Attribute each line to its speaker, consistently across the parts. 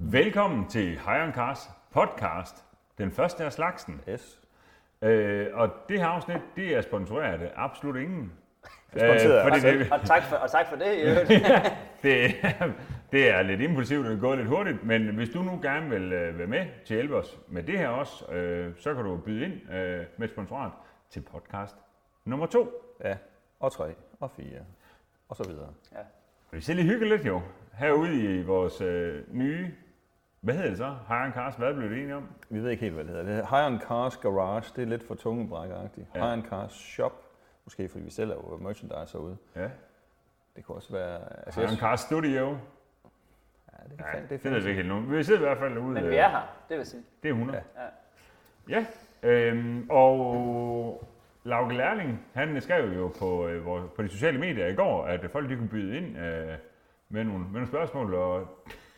Speaker 1: Velkommen til Hejren Cars podcast, den første af slagsen.
Speaker 2: Yes.
Speaker 1: Øh, og det her afsnit, det er sponsoreret af absolut ingen.
Speaker 2: sponsoreret af
Speaker 1: Øh, fordi
Speaker 2: os
Speaker 1: det,
Speaker 3: Og tak for, og tak for det, i øvrigt.
Speaker 1: det, det er lidt impulsivt, og det er gået lidt hurtigt, men hvis du nu gerne vil øh, være med til at hjælpe os med det her også, øh, så kan du byde ind øh, med sponsorat til podcast nummer to.
Speaker 2: Ja. Og tre. Og fire. Og så videre.
Speaker 3: Ja.
Speaker 1: Vi skal lige hygge lidt jo, herude i vores øh, nye, hvad hedder det så? Hejren Cars, hvad blev det enige om?
Speaker 2: Vi ved ikke helt, hvad det hedder. Det hedder High on Cars Garage. Det er lidt for tungebrækkeragtigt.
Speaker 1: Ja.
Speaker 2: Ja. High on Cars Shop. Måske fordi vi sælger jo merchandise herude.
Speaker 1: Ja.
Speaker 2: Det kunne også være... Altså,
Speaker 1: Hejren Cars Studio.
Speaker 2: ja, det,
Speaker 1: Nej,
Speaker 2: er,
Speaker 1: det,
Speaker 2: det, er
Speaker 1: det ved
Speaker 2: fint.
Speaker 1: vi ikke helt nu. Vi sidder i hvert fald ude.
Speaker 2: Øh,
Speaker 1: øh,
Speaker 3: Men vi er her, det vil sige.
Speaker 1: Det er 100.
Speaker 2: Ja.
Speaker 3: Ja.
Speaker 1: Ja. Øhm, og Lauke Lærling, han skrev jo på, øh, vores, på de sociale medier i går, at folk de kunne byde ind øh, med, nogle, med nogle spørgsmål, og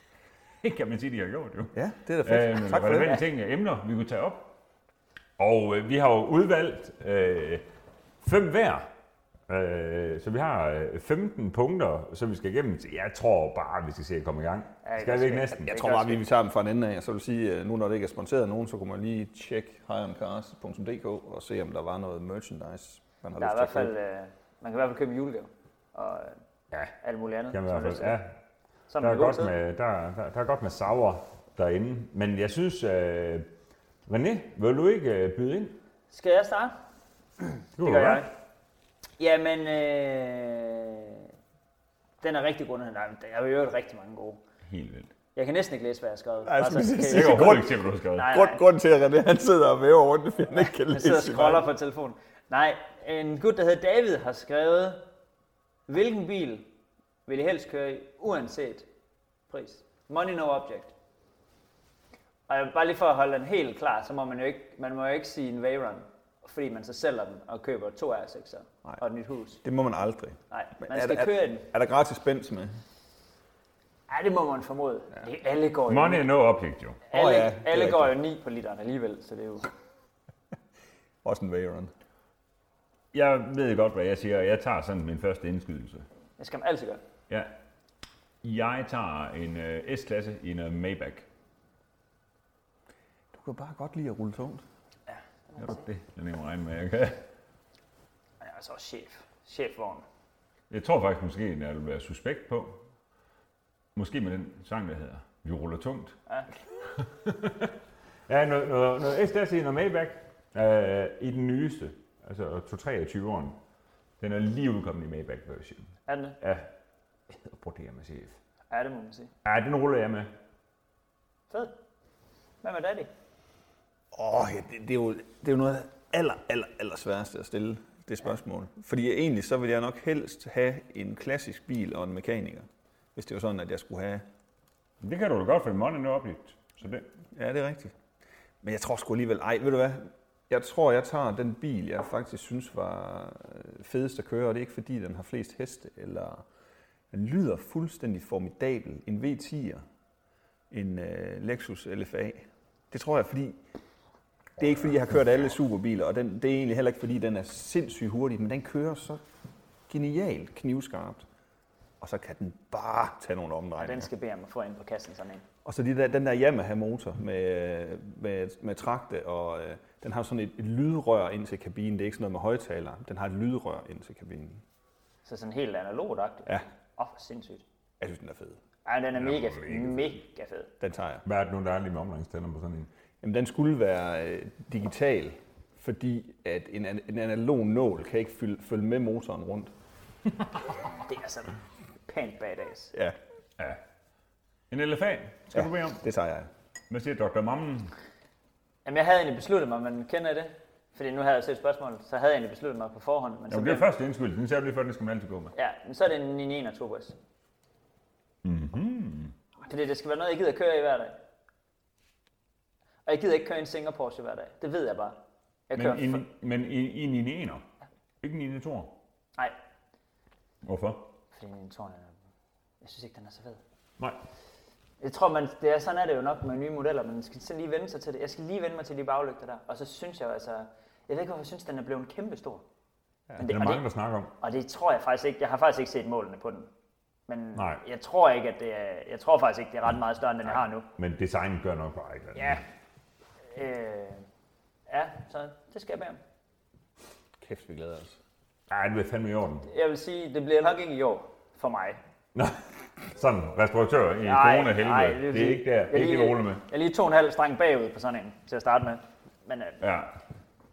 Speaker 1: det kan man sige, de har gjort jo.
Speaker 2: Ja, det er da fedt.
Speaker 1: Øh,
Speaker 2: tak for det.
Speaker 1: relevante ting og emner, vi kunne tage op. Og øh, vi har jo udvalgt øh, fem hver, øh, så vi har øh, 15 punkter, som vi skal igennem. Så Jeg tror bare, vi skal se at komme i gang.
Speaker 3: Ja,
Speaker 1: Skal
Speaker 3: det
Speaker 1: vi ikke
Speaker 3: skal-
Speaker 1: næsten?
Speaker 2: Jeg tror bare, vi, vi tager dem fra den ende af. Og så vil jeg sige, øh, nu når det ikke er sponsoreret af nogen, så kunne man lige tjekke highoncars.dk og se, om der var noget merchandise, man har
Speaker 3: Der er i hvert
Speaker 2: lyst til at
Speaker 3: fald,
Speaker 2: købe.
Speaker 3: øh, man kan i hvert fald købe julegave og øh,
Speaker 1: Ja.
Speaker 3: alt muligt andet.
Speaker 1: Kan man i
Speaker 3: som
Speaker 1: hvert fald.
Speaker 3: du siger.
Speaker 1: Ja,
Speaker 3: Som
Speaker 1: Der er,
Speaker 3: en god
Speaker 1: godt
Speaker 3: tid.
Speaker 1: med, der, der, der er godt med sauer derinde, men jeg synes, øh, René, vil du ikke øh, byde ind? Det,
Speaker 3: Skal jeg starte?
Speaker 1: kunne
Speaker 3: Det
Speaker 1: du
Speaker 3: gør
Speaker 1: godt.
Speaker 3: jeg. Jamen, øh, den er rigtig god. den her. Nej, men der er jo i øvrigt rigtig mange gode.
Speaker 1: Helt vildt.
Speaker 3: Jeg kan næsten ikke læse, hvad jeg har skrevet.
Speaker 2: Nej, jeg
Speaker 3: Bare
Speaker 2: skulle
Speaker 3: så-
Speaker 2: lige
Speaker 3: kan I-
Speaker 1: Det er
Speaker 2: sige-
Speaker 1: overhovedet ikke sikkert, du har skrevet.
Speaker 3: Nej,
Speaker 2: Grund,
Speaker 3: nej.
Speaker 2: grund til, at René han sidder og væver rundt, fordi han ikke kan
Speaker 3: Jeg
Speaker 2: læse.
Speaker 3: sidder og
Speaker 2: sin
Speaker 3: scroller
Speaker 2: egen.
Speaker 3: på telefonen. Nej, en gut, der hedder David, har skrevet, hvilken bil vil I helst køre i, uanset pris? Money no object. Og jeg- bare lige for at holde den helt klar, så må man jo ikke, man må jo ikke sige en Veyron, fordi man så sælger den og køber to R6'er
Speaker 2: Nej.
Speaker 3: og et nyt hus.
Speaker 2: Det må man aldrig.
Speaker 3: Nej,
Speaker 2: Men
Speaker 3: man
Speaker 2: er
Speaker 3: skal
Speaker 2: der-
Speaker 3: køre den.
Speaker 2: Er der gratis spænds med?
Speaker 3: Ja, det må man formode. Ja. Alle går jo,
Speaker 1: Money er no object, jo.
Speaker 3: alle,
Speaker 2: Åh ja, det er
Speaker 3: alle går jo 9 på literen alligevel, så det er jo...
Speaker 2: Også en Veyron.
Speaker 1: Jeg ved godt, hvad jeg siger, og jeg tager sådan min første indskydelse.
Speaker 3: Det skal man altid gøre.
Speaker 1: Ja. Jeg tager en øh, S-klasse i en øh, Maybach.
Speaker 2: Du kan bare godt lide at rulle tungt.
Speaker 1: Gør du det? Den er jo regne med, jeg kan.
Speaker 3: Og jeg er så også chef. Chefvogn.
Speaker 1: Jeg tror faktisk måske, at jeg vil være suspekt på. Måske med den sang, der hedder Vi ruller tungt.
Speaker 3: Ja.
Speaker 1: ja, noget, noget, noget S-Dash i noget Maybach øh, i den nyeste, altså 223'eren. Den er lige udkommet i Maybach-version.
Speaker 3: Er den det?
Speaker 1: Ja, jeg hedder på det her med chef.
Speaker 3: Ja, det må man sige.
Speaker 1: Ja, den ruller jeg med.
Speaker 3: Fed. Hvad med daddy?
Speaker 2: Åh, ja, det, det, er jo, det er jo noget af det aller, aller, aller sværeste at stille det spørgsmål. Fordi egentlig så ville jeg nok helst have en klassisk bil og en mekaniker. Hvis det var sådan, at jeg skulle have...
Speaker 1: Det kan du da godt, for måneden er oplyst. Så det.
Speaker 2: Ja, det er rigtigt. Men jeg tror sgu alligevel... Ej, ved du hvad? Jeg tror, jeg tager den bil, jeg faktisk synes var øh, fedest at køre, og det er ikke fordi, den har flest heste, eller den lyder fuldstændig formidabel. En V10'er, en øh, Lexus LFA. Det tror jeg, fordi det er ikke fordi, jeg har kørt alle superbiler, og den, det er egentlig heller ikke fordi, den er sindssygt hurtig, men den kører så genialt knivskarpt. Og så kan den bare tage nogle
Speaker 3: Og
Speaker 2: omdrejninger.
Speaker 3: den skal bede om at få ind på kassen sådan en.
Speaker 2: Og så de der, den der Yamaha-motor med, øh, med, med trakte, og øh, den har sådan et, et lydrør ind til kabinen. Det er ikke sådan noget med højtaler. Den har et lydrør ind til kabinen.
Speaker 3: Så sådan helt analogt agtigt.
Speaker 2: Ja,
Speaker 3: Åh, oh, sindssygt.
Speaker 2: jeg synes, den er fed.
Speaker 3: Ej, den er mega,
Speaker 1: mega
Speaker 3: fed.
Speaker 1: fed.
Speaker 3: mega fed.
Speaker 2: Den tager jeg.
Speaker 1: Hvad er det nu, der er lige med omgangstænder på sådan en?
Speaker 2: Jamen, den skulle være øh, digital, fordi at en, an- en analog nål kan ikke fylde, følge med motoren rundt.
Speaker 3: Det er sådan pænt badass.
Speaker 2: Ja,
Speaker 1: Ja. En elefant, skal ja. du bede om.
Speaker 2: det tager jeg.
Speaker 1: Hvad siger Dr. Mammen?
Speaker 3: Jamen, jeg havde egentlig besluttet mig, men kender I det? Fordi nu havde jeg set spørgsmålet, så havde jeg egentlig besluttet mig på forhånd. Men så
Speaker 1: Jamen, det er første indskyld. Den ser du lige før, den skal man altid gå med.
Speaker 3: Ja, men så er det en 9 og turbos.
Speaker 1: Mhm.
Speaker 3: Mm-hmm. Fordi det skal være noget, jeg gider at køre i hver dag. Og jeg gider ikke køre i en Singapore Porsche hver dag. Det ved jeg bare. Jeg kører
Speaker 1: Men en, men en, en, en ener. Ikke en en toer.
Speaker 3: Nej,
Speaker 1: Hvorfor?
Speaker 3: fordi en tårn er... Jeg synes ikke, den er så fed.
Speaker 1: Nej.
Speaker 3: Jeg tror, man, det er, sådan er det jo nok med nye modeller, men man skal så lige vende sig til det. Jeg skal lige vende mig til de baglygter der, og så synes jeg jo altså... Jeg ved ikke, hvorfor jeg synes, den er blevet kæmpe stor. Ja, men
Speaker 1: Det er
Speaker 3: og,
Speaker 1: mange,
Speaker 3: det,
Speaker 1: der snakker om.
Speaker 3: og det tror jeg faktisk ikke. Jeg har faktisk ikke set målene på den. Men
Speaker 1: Nej.
Speaker 3: jeg tror ikke, at det er, jeg tror faktisk ikke, det er ret meget større, end den jeg har nu.
Speaker 1: Men designet gør nok bare et eller andet.
Speaker 3: Ja. Øh, ja, så det skal jeg bære.
Speaker 2: Kæft, vi glæder os.
Speaker 1: Ej, det bliver fandme i orden.
Speaker 3: Jeg vil sige, det bliver nok ikke i år for mig.
Speaker 1: Nå, sådan, restauratør i
Speaker 3: Nej, nej,
Speaker 1: corona-helvede.
Speaker 3: vil
Speaker 1: Det, er
Speaker 3: sige,
Speaker 1: ikke der. Det er ikke det, vi ruller med.
Speaker 3: Jeg er lige to og en halv streng bagud på sådan en til at starte med. Men øh,
Speaker 1: Ja,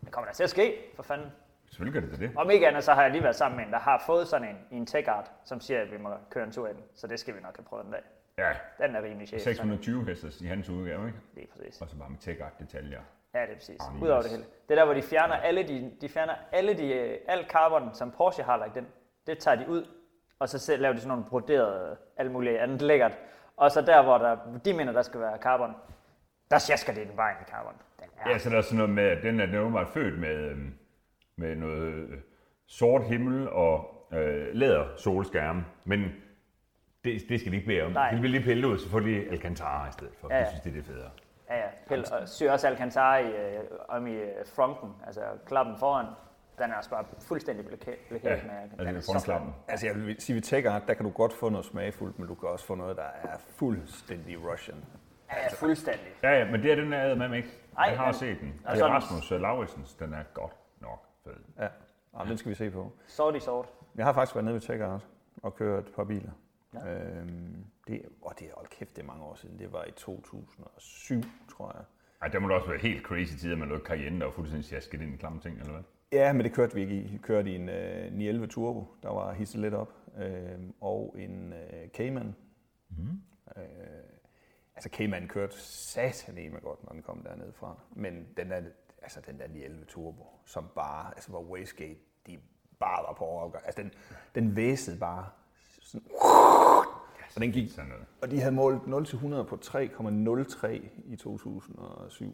Speaker 3: det kommer da til at ske, for fanden.
Speaker 1: selvfølgelig gør det det.
Speaker 3: Om ikke andet, så har jeg lige været sammen med en, der har fået sådan en i en tech art, som siger, at vi må køre en tur i den. Så det skal vi nok have prøvet en dag.
Speaker 1: Ja,
Speaker 3: Den er rimelig chef. sådan
Speaker 1: 620 hestes i hans udgave, ikke?
Speaker 3: Lige præcis.
Speaker 1: Og så bare med tech detaljer.
Speaker 3: Ja, det er præcis.
Speaker 1: Anders.
Speaker 3: Udover det hele. Det er der, hvor de fjerner alle de, de fjerner alle de, øh, al carbon, som Porsche har lagt ind. Det tager de ud, og så selv laver de sådan nogle broderede, øh, alt muligt andet lækkert. Og så der, hvor der, de mener, der skal være carbon, der sjasker de den bare ind i carbon. Den er.
Speaker 1: Ja, så der er sådan noget med, at den er, den er åbenbart født med, øhm, med noget øh, sort himmel og øh, læder solskærme, men det, det skal de ikke bede om.
Speaker 3: Nej.
Speaker 1: De vil lige pille ud, så får de Alcantara i stedet for. Ja.
Speaker 3: Ja.
Speaker 1: Jeg synes, det er det federe.
Speaker 3: Ja, ja. Pelle, og syr også Alcantara i, øh, om i øh, fronten, altså klappen foran. Den er også bare fuldstændig blokeret
Speaker 1: Ja,
Speaker 3: blokeret med
Speaker 1: altså
Speaker 3: den er
Speaker 1: med
Speaker 3: så
Speaker 1: frontklappen.
Speaker 2: Altså jeg vil sige, ved Tech Art, der kan du godt få noget smagfuldt, men du kan også få noget, der er fuldstændig Russian.
Speaker 3: flot. Ja, ja, fuldstændig.
Speaker 1: Ja, ja, men det er den der ad med ikke.
Speaker 3: Ej,
Speaker 1: jeg har
Speaker 3: ja.
Speaker 1: set den.
Speaker 3: Og
Speaker 1: Det er
Speaker 3: sådan-
Speaker 1: Rasmus Lauritsens, den er godt nok fed.
Speaker 2: Ja, Jamen, den skal vi se på.
Speaker 3: Sort i sort.
Speaker 2: Jeg har faktisk været nede ved Tech Art og kørt et par biler. Ja. Øhm, det, og det er, hold kæft, det er mange år siden. Det var i 2007, tror jeg.
Speaker 1: Ej, der må det også være helt crazy tider med noget Cayenne, der var fuldstændig sjasket ind i klamme ting, eller hvad?
Speaker 2: Ja, men det kørte vi ikke i. Vi kørte i en øh, 911 Turbo, der var hisset lidt op, øh, og en øh, Cayman. Mm. Øh, altså Cayman kørte sataneme godt, når den kom dernede fra. Men den der, altså den der 911 Turbo, som bare, altså hvor Wastegate, de bare var på overgang. Altså den, den væsede bare. Sådan, og den gik,
Speaker 1: Sådan noget.
Speaker 2: og de havde målt 0-100 på 3,03 i 2007.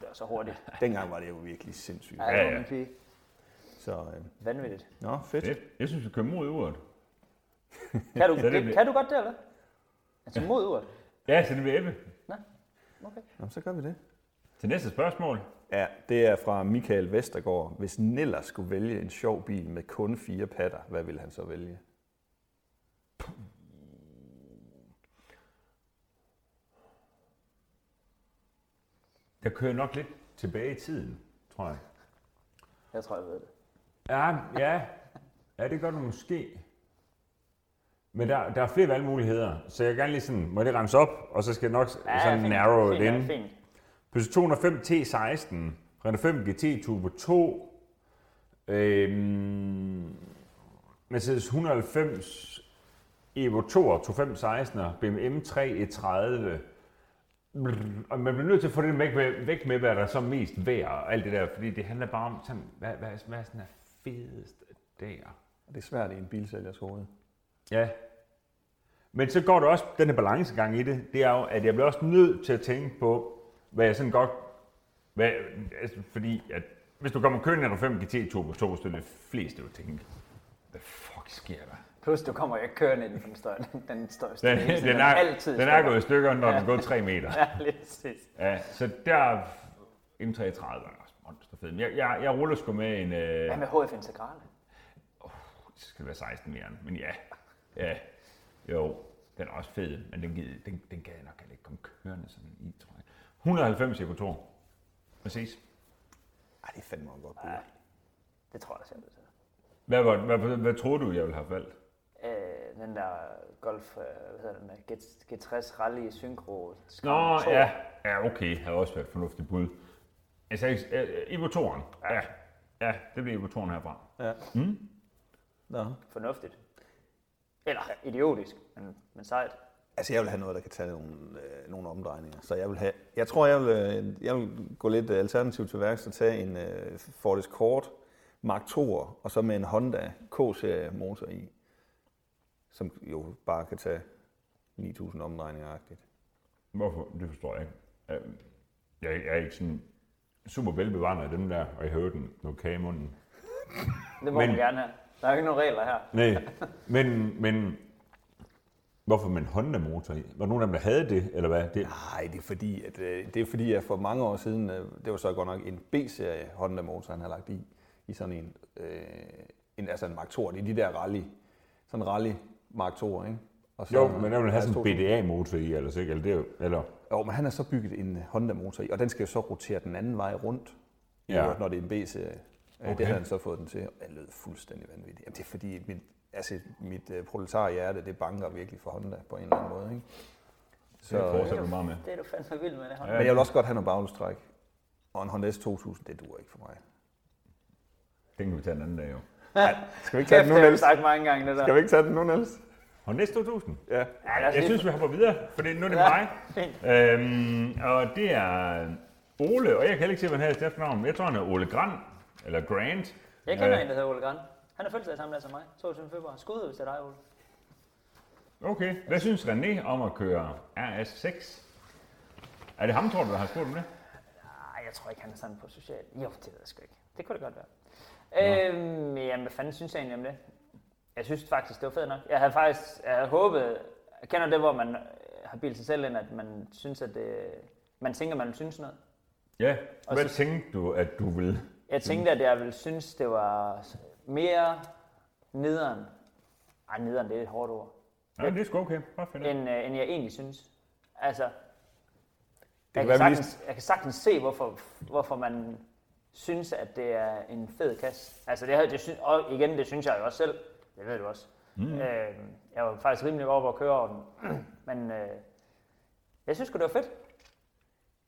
Speaker 3: Det var så hurtigt.
Speaker 2: Dengang var det jo virkelig sindssygt.
Speaker 3: Ja, ja.
Speaker 1: ja.
Speaker 3: ja. Pige.
Speaker 2: Så, øh,
Speaker 3: Vanvittigt.
Speaker 2: nå, fedt.
Speaker 1: Fedt. Jeg synes, vi kører mod uret.
Speaker 3: Kan du,
Speaker 1: det er
Speaker 3: det,
Speaker 1: det.
Speaker 3: kan du godt det, eller? Altså mod uret.
Speaker 1: Ja, så det bliver Ebbe.
Speaker 3: Nej. Okay.
Speaker 2: Nå, så gør vi det.
Speaker 1: Til næste spørgsmål.
Speaker 2: Ja, det er fra Michael Vestergaard. Hvis Niller skulle vælge en sjov bil med kun fire patter, hvad ville han så vælge?
Speaker 1: Jeg kører nok lidt tilbage i tiden, tror jeg.
Speaker 3: Jeg tror, jeg ved det.
Speaker 1: Ja, ja. Ja, det gør du måske. Men der, der er flere valgmuligheder, så jeg kan gerne lige sådan, må det remse op, og så skal jeg nok ja, sådan
Speaker 3: fint.
Speaker 1: narrow
Speaker 3: fint,
Speaker 1: it
Speaker 3: ja,
Speaker 1: in.
Speaker 3: Fint.
Speaker 1: Position 205 T16, Renault 5 GT Turbo 2, øhm, Mercedes 190 Evo 2 og 25 16'er, BMW M3 E30. E Brrr, Og man bliver nødt til at få det væk med, væk med hvad der er så mest værd og alt det der, fordi det handler bare om, sådan, hvad, hvad, hvad er sådan er fedest der.
Speaker 2: Det er svært i en bilsælgers hoved.
Speaker 1: Ja. Men så går der også den her balancegang i det, det er jo, at jeg bliver også nødt til at tænke på, hvad jeg sådan godt... Hvad, altså, fordi at, hvis du kommer køen af 5 GT Turbo 2, så er det fleste, du tænker, hvad fuck sker der?
Speaker 3: Plus, du kommer jo ikke kørende ind, for den står, den står jo
Speaker 1: Den,
Speaker 3: stille hele tiden.
Speaker 1: den, er,
Speaker 3: altid
Speaker 1: den er
Speaker 3: stille.
Speaker 1: gået i stykker, når den er gået 3 meter.
Speaker 3: Ja, lige præcis.
Speaker 1: Ja, så der M33 er også monsterfed. Men Jeg, jeg, jeg ruller sgu med en... Øh,
Speaker 3: Hvad med HF Integral?
Speaker 1: så skal det være 16 mere, men ja, ja, jo, den er også fed, men den, gider- den, den kan jeg nok heller ikke komme kørende sådan i, tror jeg. 190 EK2, præcis.
Speaker 2: Ej, det er fandme en godt bil.
Speaker 3: Det tror jeg, der ser ud til.
Speaker 1: Hvad, var, hvad, hvad, hvad troede du, jeg ville have valgt?
Speaker 3: Øh, den der Golf, øh, hvad hedder den der, G- G60 Rally Synchro.
Speaker 1: Nå,
Speaker 3: Skram 2.
Speaker 1: ja, ja, okay, havde også været et fornuftigt bud. Altså, EK2'eren, ja, ja, det bliver EK2'eren herfra.
Speaker 2: Ja. Mm. Nå.
Speaker 3: Fornuftigt. Eller idiotisk, men, men sejt.
Speaker 2: Altså, jeg vil have noget, der kan tage nogle, øh, nogle omdrejninger. Så jeg vil have... Jeg tror, jeg vil, øh, jeg vil gå lidt øh, alternativt til værks og tage en øh, Ford Escort Mark 2'er, og så med en Honda K-serie motor i, som jo bare kan tage 9.000 omdrejninger-agtigt.
Speaker 1: Hvorfor? Det forstår jeg ikke. Jeg, jeg, jeg er ikke sådan super velbevandret af dem der, og jeg hører den, når kage i munden.
Speaker 3: Det må
Speaker 1: Men-
Speaker 3: men... man gerne have. Der er jo ikke nogen regler her.
Speaker 1: Nej, men, men hvorfor med en Honda-motor i? Var der nogen af dem, der havde det, eller hvad? Det,
Speaker 2: Nej, det er fordi, at, øh, det er fordi, at for mange år siden, øh, det var så godt nok en B-serie Honda motor, han har lagt i, i sådan en, øh, en altså en Mark II, det er de der rally, sådan en rally Mark II, ikke? Og
Speaker 4: Jo, men der vil have sådan en
Speaker 2: Mark II.
Speaker 4: BDA-motor i, eller, så, ikke? eller, det er jo, eller
Speaker 2: Jo, men han har så bygget en øh, Honda-motor i, og den skal jo så rotere den anden vej rundt,
Speaker 4: Ja.
Speaker 2: ja. når det er en B-serie. Okay.
Speaker 4: Okay.
Speaker 2: Det har han så fået den til, og den lød fuldstændig vanvittig. Jamen, det er fordi, mit, altså, mit uh, proletarhjerte, det banker virkelig for Honda på en eller anden måde. Ikke? Så,
Speaker 1: Det
Speaker 2: men
Speaker 1: fortsætter du meget med.
Speaker 3: Det er du fandme vild med, det her.
Speaker 1: Ja.
Speaker 2: jeg vil også godt have noget baglustræk. Og en Honda S2000, det duer ikke for mig.
Speaker 1: Den kan vi tage en anden dag, jo.
Speaker 2: Skal vi ikke tage
Speaker 3: Kæft,
Speaker 2: den
Speaker 3: det
Speaker 2: nu,
Speaker 3: har vi
Speaker 2: Niels?
Speaker 3: sagt mange gange, det der.
Speaker 2: Skal vi ikke tage den nu, Niels?
Speaker 1: Og næste 2000.
Speaker 2: Ja.
Speaker 3: Ja, lad os
Speaker 1: Jeg
Speaker 3: lige-
Speaker 1: synes, vi hopper videre, for det, nu er det
Speaker 3: Ja.
Speaker 1: mig. Øhm, og det er øh, Ole, og jeg kan heller ikke se, hvad han har i navn, men jeg tror, han er Ole Grand, eller Grant.
Speaker 3: Jeg kender
Speaker 1: Øh,
Speaker 3: en, der hedder Ole Gran. Han er fødselsdag samme dag som mig, 22. februar. Skud ud til dig, Ole.
Speaker 1: Okay, hvad synes René om at køre RS6? Er det ham, tror du, der har spurgt om det?
Speaker 3: Nej, jeg tror ikke, han er sådan på social. Jo, det ved jeg sgu ikke. Det kunne det godt være. Øhm, jamen, hvad fanden synes jeg egentlig om det? Jeg synes faktisk, det var fedt nok. Jeg havde faktisk jeg havde håbet, jeg kender det, hvor man øh, har bildt sig selv ind, at man synes, at det, man tænker, man vil synes noget.
Speaker 1: Ja,
Speaker 3: Og
Speaker 1: hvad
Speaker 3: så-
Speaker 1: tænkte du, at du ville?
Speaker 3: Jeg tænkte, at jeg ville synes, det var mere nederen. Ej, nederen, det er et hårdt ord.
Speaker 1: Nej, det er sgu okay. Bare find ud af.
Speaker 3: end, øh, end jeg egentlig synes. Altså, jeg,
Speaker 2: være,
Speaker 3: kan
Speaker 2: vi lige-
Speaker 3: sagtens, jeg kan sagtens se, hvorfor, hvorfor man synes, at det er en fed kasse. Altså, det, har- det synes, og igen, det synes jeg jo også selv. Det ved du også. Mm. Øh, jeg var faktisk rimelig over på at køre over den. Men øh, jeg synes sgu, det var fedt.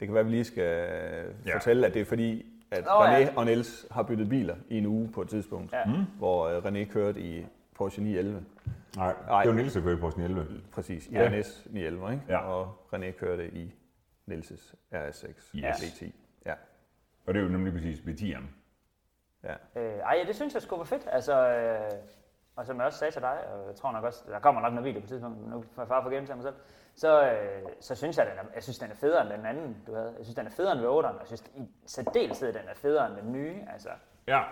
Speaker 2: Det kan være, vi lige skal
Speaker 1: Ja.
Speaker 2: ja. fortælle, at det er fordi, at
Speaker 3: Nå,
Speaker 2: oh, René
Speaker 3: ja.
Speaker 2: ja. og Niels har byttet biler i en uge på et tidspunkt,
Speaker 3: Ja.
Speaker 2: ja. hvor øh, René kørte i Porsche 911.
Speaker 4: nej,
Speaker 2: Nej.
Speaker 4: det var Niels, der kørte på sin 11.
Speaker 2: Præcis, i
Speaker 1: Ja.
Speaker 2: ja. RNS 911, ikke?
Speaker 1: Ja.
Speaker 2: og René kørte i Nielses RS6
Speaker 1: Yes.
Speaker 2: V10. Ja.
Speaker 1: Og det er jo nemlig præcis ved 10'eren.
Speaker 2: Ja.
Speaker 3: Øh, ej, ja, det synes jeg sgu var fedt. Altså, øh, og som jeg også sagde til dig, og jeg tror nok også, der kommer nok noget video på et tidspunkt, men nu får jeg far for at gentage mig selv, så, øh, så synes jeg, den er, jeg synes, den er federe end den anden, du havde. Jeg synes, den er federe end ved 8'eren, og jeg synes i særdeleshed, den er federe end den nye. Altså,
Speaker 1: Ja,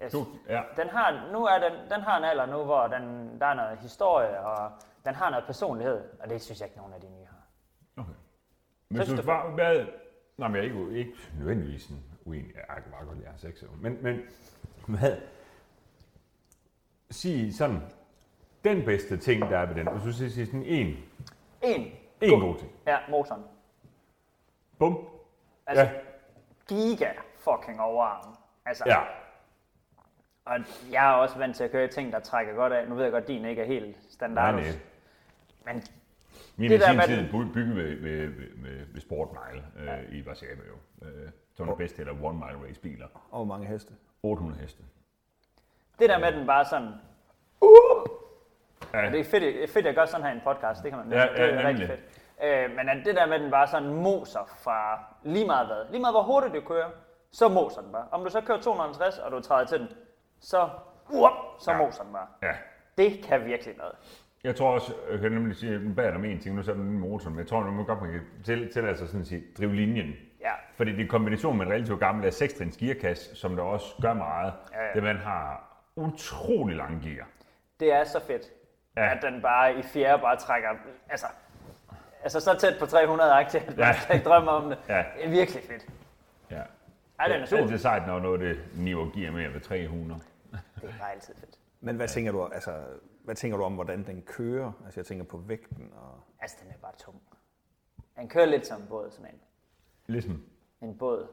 Speaker 3: jeg,
Speaker 1: du, ja.
Speaker 3: den har, nu er den, den har en alder nu, hvor den, der er noget historie, og den har noget personlighed, og det synes jeg ikke, nogen af de nye har.
Speaker 1: Men
Speaker 3: Synes
Speaker 1: du
Speaker 3: du-
Speaker 1: var, hvad... Nej, men jeg er ikke, u- ikke nødvendigvis sådan uenig. Jeg kan meget godt lide R6, jo. men, men hvad? Sig sådan, den bedste ting, der er ved den, hvis du siger siger sådan en,
Speaker 3: En,
Speaker 1: en god ting.
Speaker 3: ja, motoren.
Speaker 1: Bum.
Speaker 3: Altså,
Speaker 1: Ja.
Speaker 3: giga fucking overarm. Altså,
Speaker 1: Ja,
Speaker 3: Og jeg er også vant til at køre i ting, der trækker godt af. Nu ved jeg godt, at din ikke er helt
Speaker 1: nej,
Speaker 3: standard.
Speaker 1: nej.
Speaker 3: Men
Speaker 1: Min det
Speaker 3: Det der
Speaker 1: sin
Speaker 3: med
Speaker 1: tid bu- bygget ved, ved, ved, ved, ved Sport Mile øh, i Warszawa jo. Øh, som den bedste, eller One Mile Race biler.
Speaker 2: Og hvor mange heste.
Speaker 1: 800 heste.
Speaker 3: det der med, at den bare sådan...
Speaker 1: Ja.
Speaker 3: Ja. Det er fedt, det er fedt, jeg gør sådan her i en podcast. Det kan man
Speaker 1: Ja,
Speaker 3: det er
Speaker 1: ja, nemlig.
Speaker 3: rigtig fedt. Øh, men at det der med, at den bare sådan moser fra lige meget hvad. Lige meget hvor hurtigt du kører, så moser den bare. Om du så kører 250, og du træder til den, så, uh, så
Speaker 1: Ja.
Speaker 3: moser den bare.
Speaker 1: Ja,
Speaker 3: Det kan virkelig noget.
Speaker 1: Jeg tror også, jeg kan nemlig sige, at den bag om en ting, nu sætter den en motor, men jeg tror, at man godt man kan til, tillade sig sådan at sige, drive linjen.
Speaker 3: Ja.
Speaker 1: Fordi det er i kombination med en relativt gammel 6 trins gearkasse, som der også gør meget,
Speaker 3: Ja, ja.
Speaker 1: det man har utrolig lange gear.
Speaker 3: Det er så fedt,
Speaker 1: Ja.
Speaker 3: ja. at den bare i fjerde bare trækker, altså, altså så tæt på 300 aktier, at man
Speaker 1: Ja.
Speaker 3: ja. ikke drømme om det.
Speaker 1: Ja.
Speaker 3: Det er virkelig fedt.
Speaker 1: Ja.
Speaker 3: Ej, den er super.
Speaker 1: Det er sejt, når noget det niver gear mere ved 300.
Speaker 3: Det er bare altid fedt.
Speaker 2: Men hvad tænker, du, altså, hvad tænker du om, hvordan den kører? Altså jeg tænker på vægten. Og...
Speaker 3: Altså, den er bare tung. Den kører lidt som en båd, sådan en.
Speaker 1: Ligesom.
Speaker 3: En båd.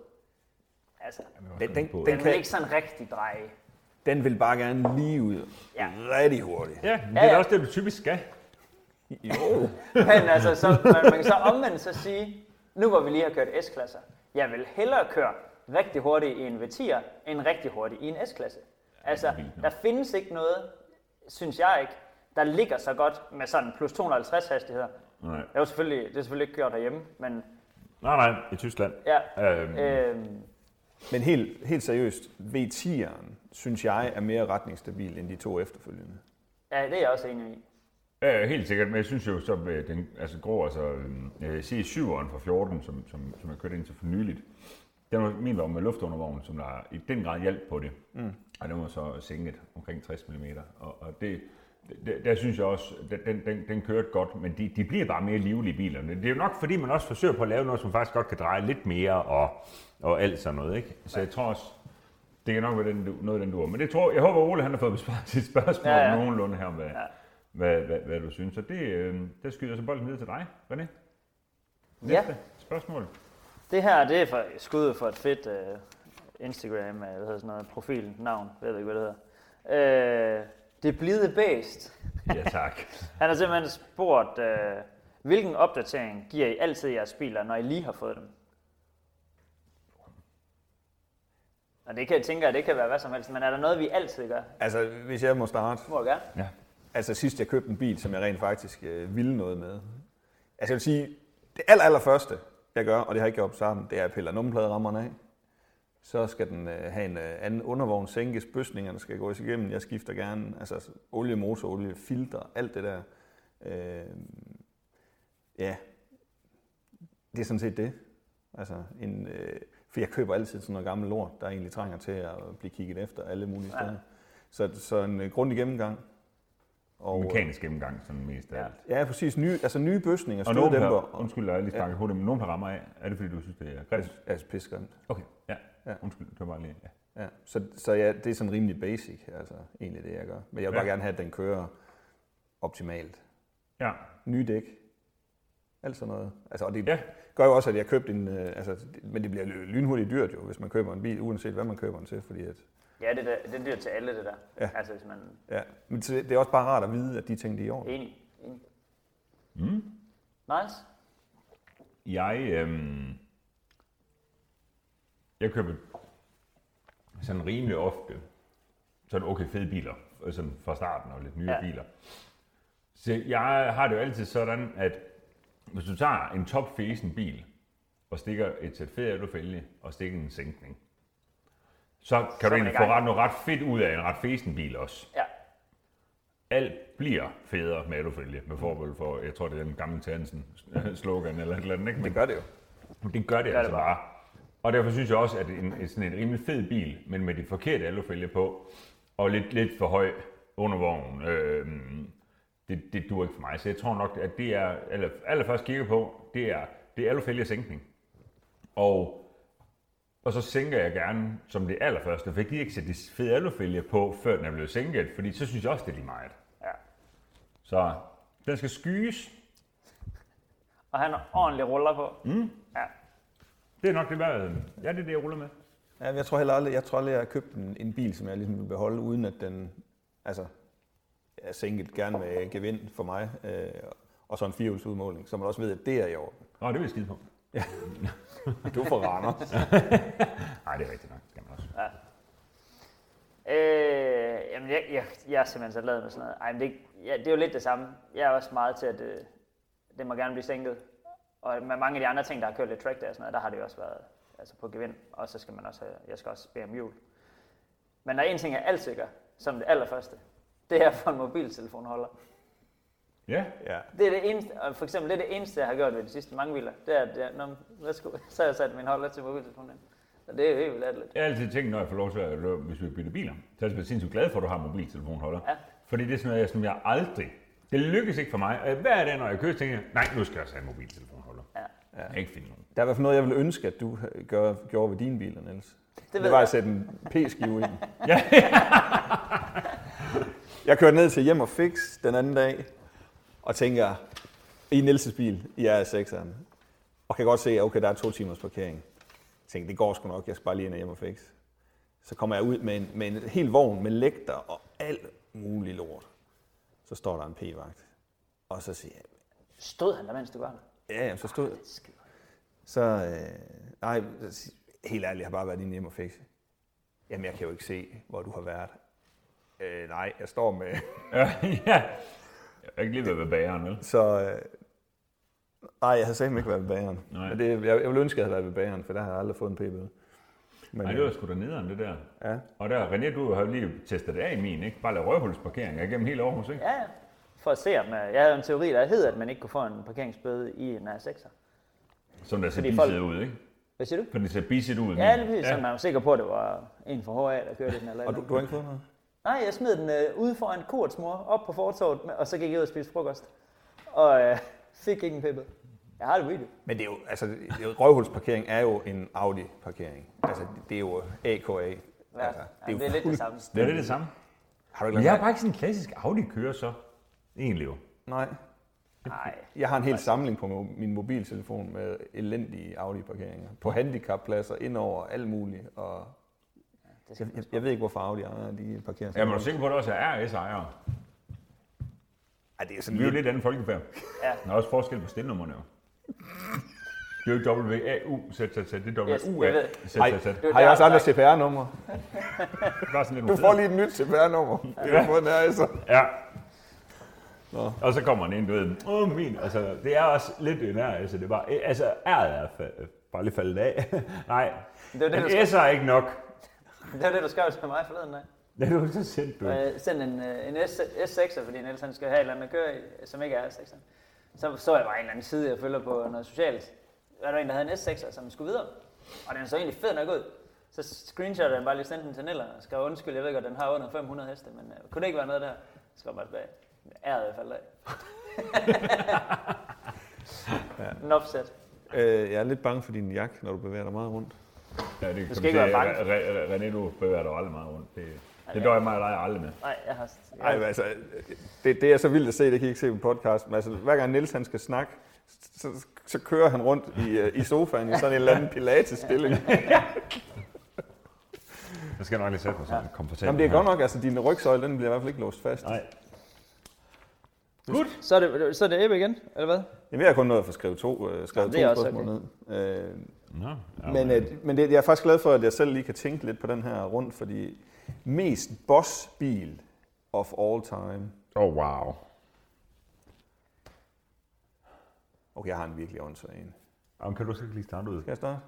Speaker 3: Altså,
Speaker 2: Den,
Speaker 1: Den
Speaker 2: den, den,
Speaker 3: den vil
Speaker 2: kan,
Speaker 3: ikke sådan rigtig dreje.
Speaker 2: den vil bare gerne lige ud
Speaker 3: Ja.
Speaker 2: ja.
Speaker 1: Mm.
Speaker 2: rigtig hurtigt.
Speaker 1: Ja, men det
Speaker 3: Ja,
Speaker 1: er
Speaker 3: ja.
Speaker 1: da også det, du typisk skal.
Speaker 2: Jo.
Speaker 3: Men altså, så, man, man kan så omvendt så sige, nu hvor vi lige har kørt S-klasser, jeg vil hellere køre rigtig hurtigt i en V10'er, end rigtig hurtigt i en S-klasse. Altså, der findes ikke noget, synes jeg ikke, der ligger så godt med sådan plus 250 hastigheder.
Speaker 1: Nej,
Speaker 3: Det er jo selvfølgelig, det er selvfølgelig ikke gjort derhjemme, men
Speaker 1: nej, nej i Tyskland.
Speaker 3: ja,
Speaker 1: Øhm,
Speaker 3: øhm,
Speaker 2: Men helt, helt seriøst, V10'eren synes jeg er mere retningsstabil end de to efterfølgende.
Speaker 3: ja, det er jeg også enig i.
Speaker 1: Ja, helt sikkert, men jeg synes jo, så øh, den altså, grå, altså øh, C7'eren fra 14, som, som, som jeg kørte ind til for nyligt, den var, min var med luftundervogn, som der i den grad hjalp på det. Mm. Og den var så sænket omkring 60 mm. Og, og det, det, der synes jeg også, den- den, den, den kørte godt, men de, de bliver bare mere livlige bilerne. Det er jo nok, fordi man også forsøger på at lave noget, som faktisk godt kan dreje lidt mere og, og alt sådan noget. Ikke? Så jeg tror også, det kan nok være den, du- noget, den du har. Men det tror, jeg håber, Ole han har fået besvaret sit spørgsmål
Speaker 3: Ja,
Speaker 1: ja,
Speaker 3: ja.
Speaker 1: ja. nogenlunde her om, hvad, ja. hvad, hvad, hvad du synes. Så det, øh, der skyder jeg så bolden ned til dig, René.
Speaker 3: Ja,
Speaker 1: spørgsmål.
Speaker 3: det her det er for, skud for et fedt øh, Instagram, øh, hvad hedder sådan noget, profil, navn, jeg ved ikke, hvad det hedder. Øh, det blide bæst.
Speaker 1: Ja, tak.
Speaker 3: Han har simpelthen spurgt, øh, hvilken opdatering giver I altid jeres biler, når I lige har fået dem? Og det kan jeg tænker, det kan være hvad som helst, men er der noget, vi altid gør?
Speaker 2: Altså, hvis jeg må starte.
Speaker 3: Må jeg gøre?
Speaker 1: ja.
Speaker 2: Altså sidst jeg købte en bil, som jeg rent faktisk øh, ville noget med. Altså jeg vil sige, det aller, aller første, jeg gør, og det har jeg ikke gjort sammen, det er, at jeg piller nummerpladerammerne af. Så skal den øh, have en øh, anden undervogn sænkes, bøsningerne skal gås igennem, jeg skifter gerne altså, olie, motorolie, filter, alt det der. Øh, ja, det er sådan set det. Altså, en, øh, for jeg køber altid sådan noget gammel lort, der egentlig trænger til at blive kigget efter alle mulige
Speaker 3: Ja.
Speaker 2: steder. Så, så en øh, grundig gennemgang. Og, øh,
Speaker 1: Mekanisk gennemgang, sådan mest af
Speaker 3: Ja.
Speaker 1: alt.
Speaker 2: Ja, præcis. Nye, altså nye bøsninger,
Speaker 1: Og nogen
Speaker 2: støddæmper.
Speaker 1: der,
Speaker 2: Og
Speaker 1: undskyld, jeg har lige sparket på det, men nogen der rammer af, er det fordi, du synes, det er grimt?
Speaker 2: altså piskeren.
Speaker 1: Okay, ja.
Speaker 2: Ja.
Speaker 1: Undskyld, det var bare lige, ja.
Speaker 2: Ja. Så, så ja, det er sådan rimelig basic, altså egentlig det, jeg gør. Men jeg vil
Speaker 1: Ja.
Speaker 2: bare gerne have, at den kører optimalt.
Speaker 1: Ja,
Speaker 2: Nye dæk. Alt sådan noget. Altså, og det
Speaker 1: Ja.
Speaker 2: ja. gør jo også, at jeg købte en... øh, Altså, det- men det bliver jo lynhurtigt dyrt jo, hvis man køber en bil, uanset hvad man køber den til. Fordi at,
Speaker 3: Ja, det, der, det dyrt til alle, det der.
Speaker 2: Ja.
Speaker 3: Altså, hvis man
Speaker 2: ja. Men så det det er også bare rart at vide, at de ting, de er i orden.
Speaker 3: Enig. Enig. Mm. Nice.
Speaker 1: jeg, øhm, jeg køber sådan rimelig ofte sådan okay fede biler, øh, sådan fra starten og lidt nye
Speaker 3: Ja.
Speaker 1: ja. biler. Så jeg har det jo altid sådan, at hvis du tager en topfesen bil og stikker et sæt fede alufælge og stikker en sænkning, så kan
Speaker 3: er
Speaker 1: så du
Speaker 3: man i
Speaker 1: egentlig få
Speaker 3: gang.
Speaker 1: ret, noget ret fedt ud af en ret fesen bil også.
Speaker 3: Ja.
Speaker 1: alt bliver federe med alufælge, med forbehold for, jeg tror, det er den gamle Tansen slogan eller et eller andet, ikke?
Speaker 2: Det
Speaker 1: Men
Speaker 2: gør det jo.
Speaker 1: det gør det,
Speaker 3: det
Speaker 1: altså
Speaker 3: bare.
Speaker 1: bare. Og derfor synes jeg også, at en, en- sådan en rimelig fed bil, men med de forkerte alufælge på, og lidt, lidt for høj undervogn, øh, det, det duer ikke for mig. Så jeg tror nok, at det er, eller allerførst kigger på, det er, det er alufælge sænkning. Og og så sænker jeg gerne som det allerførste, for jeg gider ikke sætte det fede alufælge på, før den er blevet sænket, fordi så synes jeg også, det er lige meget.
Speaker 3: ja.
Speaker 1: Så den skal skyes.
Speaker 3: Og han har ordentlig ruller på. Mm. Ja.
Speaker 1: Det er nok det værd. Ja, det er det, jeg ruller med.
Speaker 2: Ja, men jeg tror heller aldrig, jeg tror aldrig, jeg har købt en, en bil, som jeg ligesom vil beholde, uden at den altså, er sænket gerne med gevind for mig, øh, og så en firehjulsudmåling, så man også ved, at det er i orden.
Speaker 1: Nå, det vil jeg skide på.
Speaker 2: Du får Randers.
Speaker 1: Nej, det er rigtigt nok. Det skal man også.
Speaker 3: Øh, jamen, jeg, jeg, jeg er simpelthen så glad med sådan noget. Ej, men det, ja, det er jo lidt det samme. Jeg er også meget til, at øh, det må gerne blive sænket. Og med mange af de andre ting, der har kørt lidt track der og sådan noget, der har det jo også været altså på gevind. Og så skal man også have, jeg skal også bede om hjul. Men der er en ting, jeg altid gør, som det allerførste. Det er for en mobiltelefonholder.
Speaker 1: Ja,
Speaker 2: ja.
Speaker 3: Det er det eneste, og for eksempel det, er det eneste, jeg har gjort ved de sidste mange biler, det er, at jeg, når, værsgo, så har jeg sat min holder til mobiltelefonen ind. Og det er jo helt vildt lidt.
Speaker 1: jeg har altid tænkt, når jeg får lov til at løbe, hvis vi bytter biler, så er jeg sindssygt glad for, at du har mobiltelefonholder.
Speaker 3: Ja.
Speaker 1: Fordi det er sådan noget, jeg- som jeg aldrig... Det lykkes ikke for mig. Øh, Og Hver dag, når jeg kører, tænker jeg, nej, nu skal jeg også have en mobiltelefonholder.
Speaker 3: Ja.
Speaker 1: Jeg kan ikke finde nogen.
Speaker 2: Der er i hvert fald noget, jeg ville ønske, at du øh, gør, gjorde ved dine biler, Niels. Det,
Speaker 3: ved
Speaker 2: det var
Speaker 3: jeg.
Speaker 2: at sætte en p-skive ind.
Speaker 1: Ja.
Speaker 2: jeg kørte ned til Hjem og Fix den anden dag, og tænker, i Nielses bil, i RS6'eren, og kan godt se, at okay, der er to timers parkering. Jeg tænkte, det går sgu nok, jeg skal bare lige ind og Hjem og Fix. Så kommer jeg ud med en, med en hel vogn med lægter og alt muligt lort. Så står der en p-vagt, og så siger jeg,
Speaker 3: Stod han der, mens du var der?
Speaker 2: Ja, jamen, så stod Så, øh, nej, helt ærligt, jeg har bare været inde hjemme og fikse. Jamen, jeg kan jo ikke se, hvor du har været. Øh, nej, jeg står med...
Speaker 1: ja. Jeg har ikke lige været ved bageren, vel?
Speaker 2: Så, øh, nej, jeg har simpelthen ikke været ved bageren.
Speaker 1: Nej.
Speaker 2: Men det, jeg, jeg ville ønske, at jeg havde været ved bageren, for der har jeg aldrig fået en p-bøde. Men, øh,
Speaker 1: Nej, det var sgu da nederen, det der.
Speaker 2: ja.
Speaker 1: Og der, René, du har jo lige testet det af i min, ikke? Bare lave røvhulsparkeringer igennem hele Aarhus, ikke?
Speaker 3: Ja, ja. For at se, om øh, jeg havde en teori, der hed, at man ikke kunne få en parkeringsbøde i en R6'er.
Speaker 1: Som der ser
Speaker 3: Fordi
Speaker 1: bisset
Speaker 3: folk-
Speaker 1: ud, ikke?
Speaker 3: Hvad siger du?
Speaker 1: For det ser bisset ud.
Speaker 3: Ja,
Speaker 1: min.
Speaker 3: det er Mm. ja. man var sikker på, at det var en fra HA, der kørte den eller
Speaker 2: Og du, du har ikke fået noget?
Speaker 3: Nej, jeg smed den øh, ude foran Kurts mor, op på fortorvet, med- og så gik jeg ud og spiste frokost. Og øh, fik ikke en pippet. Jeg har det video.
Speaker 2: Men det er jo, altså, det er jo- røvhulsparkering er jo en Audi-parkering. Altså, det er jo AKA.
Speaker 3: Ja,
Speaker 2: Altså,
Speaker 3: det er lidt det samme.
Speaker 1: Det er det, det samme.
Speaker 2: Har du ikke
Speaker 1: Men jeg
Speaker 2: lagt
Speaker 1: er
Speaker 2: mærke-
Speaker 1: bare ikke sådan en klassisk Audi-kører så.
Speaker 4: Egentlig jo.
Speaker 2: Nej.
Speaker 3: Nej.
Speaker 2: Jeg har en hel samling på mo- min mobiltelefon med elendige Audi-parkeringer. På handicappladser, indover, alt muligt. Og
Speaker 3: Det skal
Speaker 2: jeg, jeg, jeg ved ikke, hvorfor Audi-ejere de parkerer
Speaker 1: Ja, men er du
Speaker 2: dårligt.
Speaker 1: sikker på, at der også er RS-ejere?
Speaker 2: Ej, det er sådan
Speaker 1: Vi er jo
Speaker 2: lidt...
Speaker 1: lidt andet folkefærd.
Speaker 3: Ja.
Speaker 1: Der er også forskel på stilnummerne jo. Det er jo ikke WAU, sæt, sæt, sæt. Det er WUA,
Speaker 3: Yes, jeg ved.
Speaker 1: sæt,
Speaker 2: Ej,
Speaker 1: sæt, sæt.
Speaker 3: var
Speaker 2: har
Speaker 3: der,
Speaker 2: jeg også
Speaker 3: jeg
Speaker 2: andre CPR-numre?
Speaker 1: Det var sådan lidt
Speaker 2: Du får lige et nyt CPR-nummer. Det har fået nær altså.
Speaker 1: Ja.
Speaker 2: Nå.
Speaker 1: Og så kommer den ind, du ved, åh min, altså det er også lidt en R, altså det er bare, altså R er fa- bare lige faldet af. Nej,
Speaker 3: Det var det,
Speaker 1: en
Speaker 3: du
Speaker 1: S er ikke nok.
Speaker 3: Det var det, du skrev til mig forleden dag.
Speaker 1: Det er jo så sendt, du.
Speaker 3: Øh, send en, øh, en S, S6'er, fordi Niels han skal have et eller andet at køre i, som ikke er S6'er. Så så jeg bare en eller anden side, jeg følger på noget socialt. Der var en, der havde en S6'er, som skulle videre. Og den så egentlig fed nok ud. Så screenshotter jeg bare lige sendte den til Niller og skrev, undskyld, jeg ved godt, den har under 500 heste, men øh, kunne det ikke være noget der? Så skrev jeg bare tilbage. Æret jeg faldt af. ja. Enough said.
Speaker 2: Øh, jeg er lidt bange for din jakke, når du bevæger dig meget rundt.
Speaker 1: Ja, det
Speaker 3: Du skal ikke være bange.
Speaker 1: René, du bevæger dig aldrig meget rundt. Det, det
Speaker 3: ja.
Speaker 1: dør jeg mig og dig aldrig med.
Speaker 3: Nej, jeg har...
Speaker 2: Ej, men altså, det, det er så vildt at se, det kan I ikke se på podcast, men altså, hver gang Niels han skal snakke, så, så kører han rundt i, øh, i sofaen i sådan en eller anden pilates-stilling.
Speaker 4: Jeg skal nok lige sætte mig sådan komfortabel.
Speaker 2: Jamen, det er godt nok, altså din rygsøjle, den bliver i hvert fald ikke låst fast.
Speaker 4: Nej.
Speaker 3: Så er det, så er det Ebbe igen, eller hvad?
Speaker 2: Jamen, jeg har kun nået at få skrevet to, øh, skrevet
Speaker 3: Nå, det er
Speaker 2: to
Speaker 3: også
Speaker 2: spørgsmål ned. Øh,
Speaker 4: Nå, ja,
Speaker 2: men øh, men det, jeg er faktisk glad for, at jeg selv lige kan tænke lidt på den her rundt, fordi mest bossbil of all time.
Speaker 4: Åh,
Speaker 3: øh,
Speaker 4: oh, wow.
Speaker 2: Okay, jeg har en virkelig åndssvag en.
Speaker 4: Jamen, kan du så ikke lige starte ud?
Speaker 2: Skal jeg starte?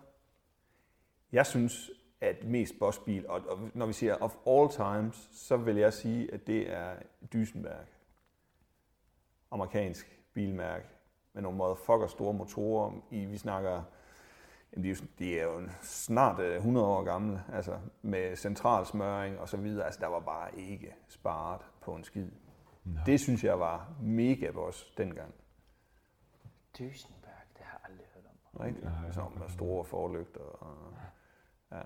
Speaker 2: Jeg synes, at mest bossbil, og, og når vi siger of all times, så vil jeg sige, at det er Dysenberg. Amerikansk bilmærke med nogle motherfucker store motorer. I, vi snakker, jamen de, er jo, sådan- de er jo snart øh, 100 år gamle, altså med centralsmøring og så videre. Altså der var bare ikke sparet på en skid. No. Det synes jeg var mega boss dengang.
Speaker 3: Dysenberg, det har jeg aldrig hørt om.
Speaker 2: Rigtig. Så med store forlygter. Og, ja.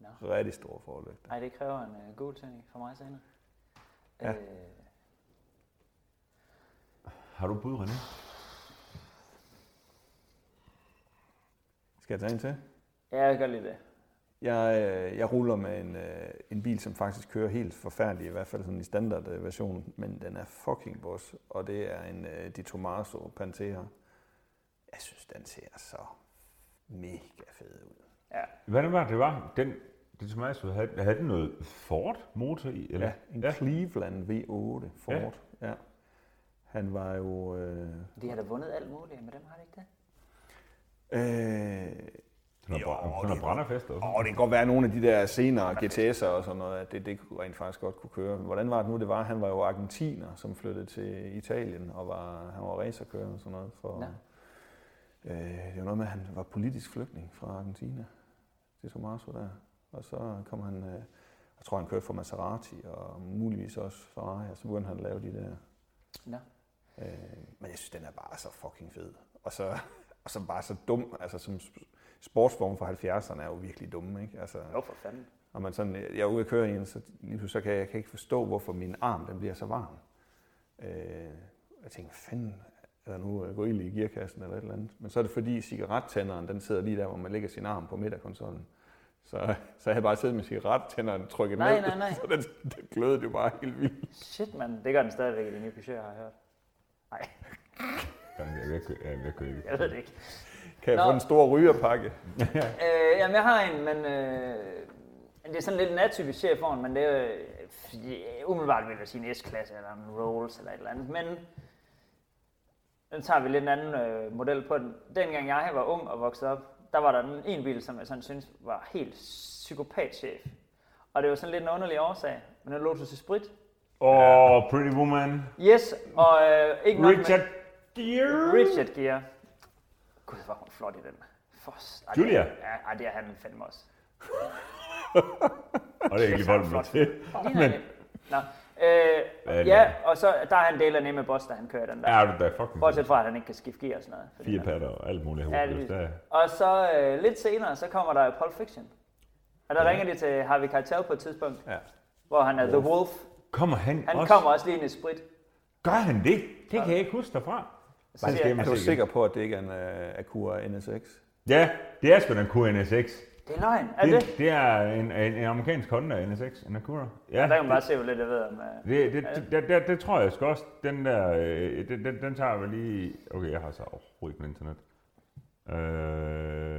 Speaker 3: Nå.
Speaker 2: Rigtig store forlygter.
Speaker 3: Nej, det kræver en øh, god tænding for mig senere.
Speaker 2: Ja.
Speaker 3: Øh,
Speaker 4: Har du et bud, René?
Speaker 2: Skal jeg tage en til?
Speaker 3: ja, jeg gør lige det.
Speaker 2: Jeg, øh, jeg ruller med en, øh, en bil, som faktisk kører helt forfærdeligt, i hvert fald sådan i standardversionen, men den er fucking boss, og det er en øh, Di Tomaso Pantera. Jeg synes, den ser så mega fed ud.
Speaker 3: Ja.
Speaker 4: Hvad var det, det var? Den, det som jeg så havde, havde den noget Ford-motor i? Eller?
Speaker 2: Ja, en ja. Cleveland V8 Ford. Ja. ja. Han var jo... Øh,
Speaker 3: De har da vundet alt muligt, men dem har de ikke det.
Speaker 2: øh,
Speaker 4: Sådan
Speaker 2: Jo,
Speaker 4: noget, sådan
Speaker 2: det
Speaker 4: noget
Speaker 2: var-
Speaker 4: brænderfest også.
Speaker 2: Åh, det kan godt være, at nogle af de der senere GTS'er og sådan noget, at det, det kunne rent faktisk godt kunne køre. Hvordan var det nu, det var? Han var jo argentiner, som flyttede til Italien, og var, han var racerkører og sådan noget. For, øh, det var noget med, at han var politisk flygtning fra Argentina. Det tog Marso der. Og så kom han, øh, jeg tror han kørte for Maserati, og muligvis også Ferrari, og så begyndte han at lave de der
Speaker 3: Nå.
Speaker 2: Øh, men jeg synes, den er bare så fucking fed. Og så, og så bare så dum. Altså, som sp- sportsvogn fra 70'erne er jo virkelig dumme, ikke? Altså,
Speaker 3: Jo, for fanden.
Speaker 2: når man sådan, jeg er ude at køre i en, så, lige pludselig så kan jeg, jeg kan ikke forstå, hvorfor min arm den bliver så varm. Øh, jeg tænker, hvad fanden er der nu øh, gorilla i gearkassen eller et eller andet? Men så er det fordi cigarettænderen, den sidder lige der, hvor man lægger sin arm på midterkonsollen. Så, så jeg bare siddet med cigarettænderen trykket
Speaker 3: Nej,
Speaker 2: ned,
Speaker 3: nej, nej.
Speaker 2: så den, den glødede jo bare helt vildt.
Speaker 3: Shit, mand. Det gør den stadigvæk i de nye Peugeot, har jeg hørt. Nej,
Speaker 4: Jeg vil ikke- jeg vil ikke købe.
Speaker 3: jeg ved det ikke.
Speaker 2: Kan jeg
Speaker 3: Nå.
Speaker 2: få en stor rygerpakke?
Speaker 3: Øh, jamen, jeg har en, men øh, det er sådan lidt en atypisk chef foran, men det er øh, fordi, øh, umiddelbart vil jeg sige en S-klasse eller en Rolls eller et eller andet, men nu tager vi lidt en anden øh, model på den. Dengang jeg var ung og voksede op, der var der en, en bil, som jeg sådan synes var helt psykopatchef. Og det var sådan lidt en underlig årsag, men en Lotus Esprit.
Speaker 1: Åh, Pretty Woman,
Speaker 3: Yes, og øh, ikke nok med-
Speaker 1: Richard Gere.
Speaker 3: Richard Gere. Gud, hvor er hun flot i den. For, ej,
Speaker 4: Julia?
Speaker 3: Det er, ja, ej, det er han fandme også.
Speaker 4: Og det er ikke lige voldt mig
Speaker 3: Flot.
Speaker 4: til.
Speaker 3: Ligner han ikke? Nå. Øh,
Speaker 4: det?
Speaker 3: ja, og så der er han del af nemme boss, da han kører den der.
Speaker 4: Ja, du da fucking
Speaker 3: Bortset fra, at han ikke kan skifte gear og sådan noget. Fordi
Speaker 4: fire
Speaker 3: han-
Speaker 4: patter og alt muligt.
Speaker 3: Ja, det er vildt. Og så øh, lidt senere, så kommer der Pulp Fiction. Og der ringer de til Harvey Keitel på et tidspunkt,
Speaker 2: Ja.
Speaker 3: hvor han er The Wolf.
Speaker 4: Kommer han,
Speaker 3: Han
Speaker 4: også?
Speaker 3: kommer også lige ind i sprit.
Speaker 1: Gør han det? Det kan jeg ikke huske derfra.
Speaker 3: Så
Speaker 1: Bare
Speaker 3: siger
Speaker 1: skal
Speaker 3: jeg,
Speaker 1: hjem
Speaker 2: Er
Speaker 1: og
Speaker 2: du
Speaker 1: se igen.
Speaker 2: sikker på, at det ikke er en uh, Acura NSX?
Speaker 1: Ja, det er sgu da en QNSX.
Speaker 3: det er løgn. Er det?
Speaker 1: Det, det er en, en, en amerikansk Honda NSX, en Acura. Ja,
Speaker 3: Der kan man bare se, hvor lidt jeg ved om... øh,
Speaker 1: det, det, det, det, det, det tror jeg sgu også. Den der, øh, den, den, den tager vi lige... Okay, jeg har så overhovedet ikke noget internet.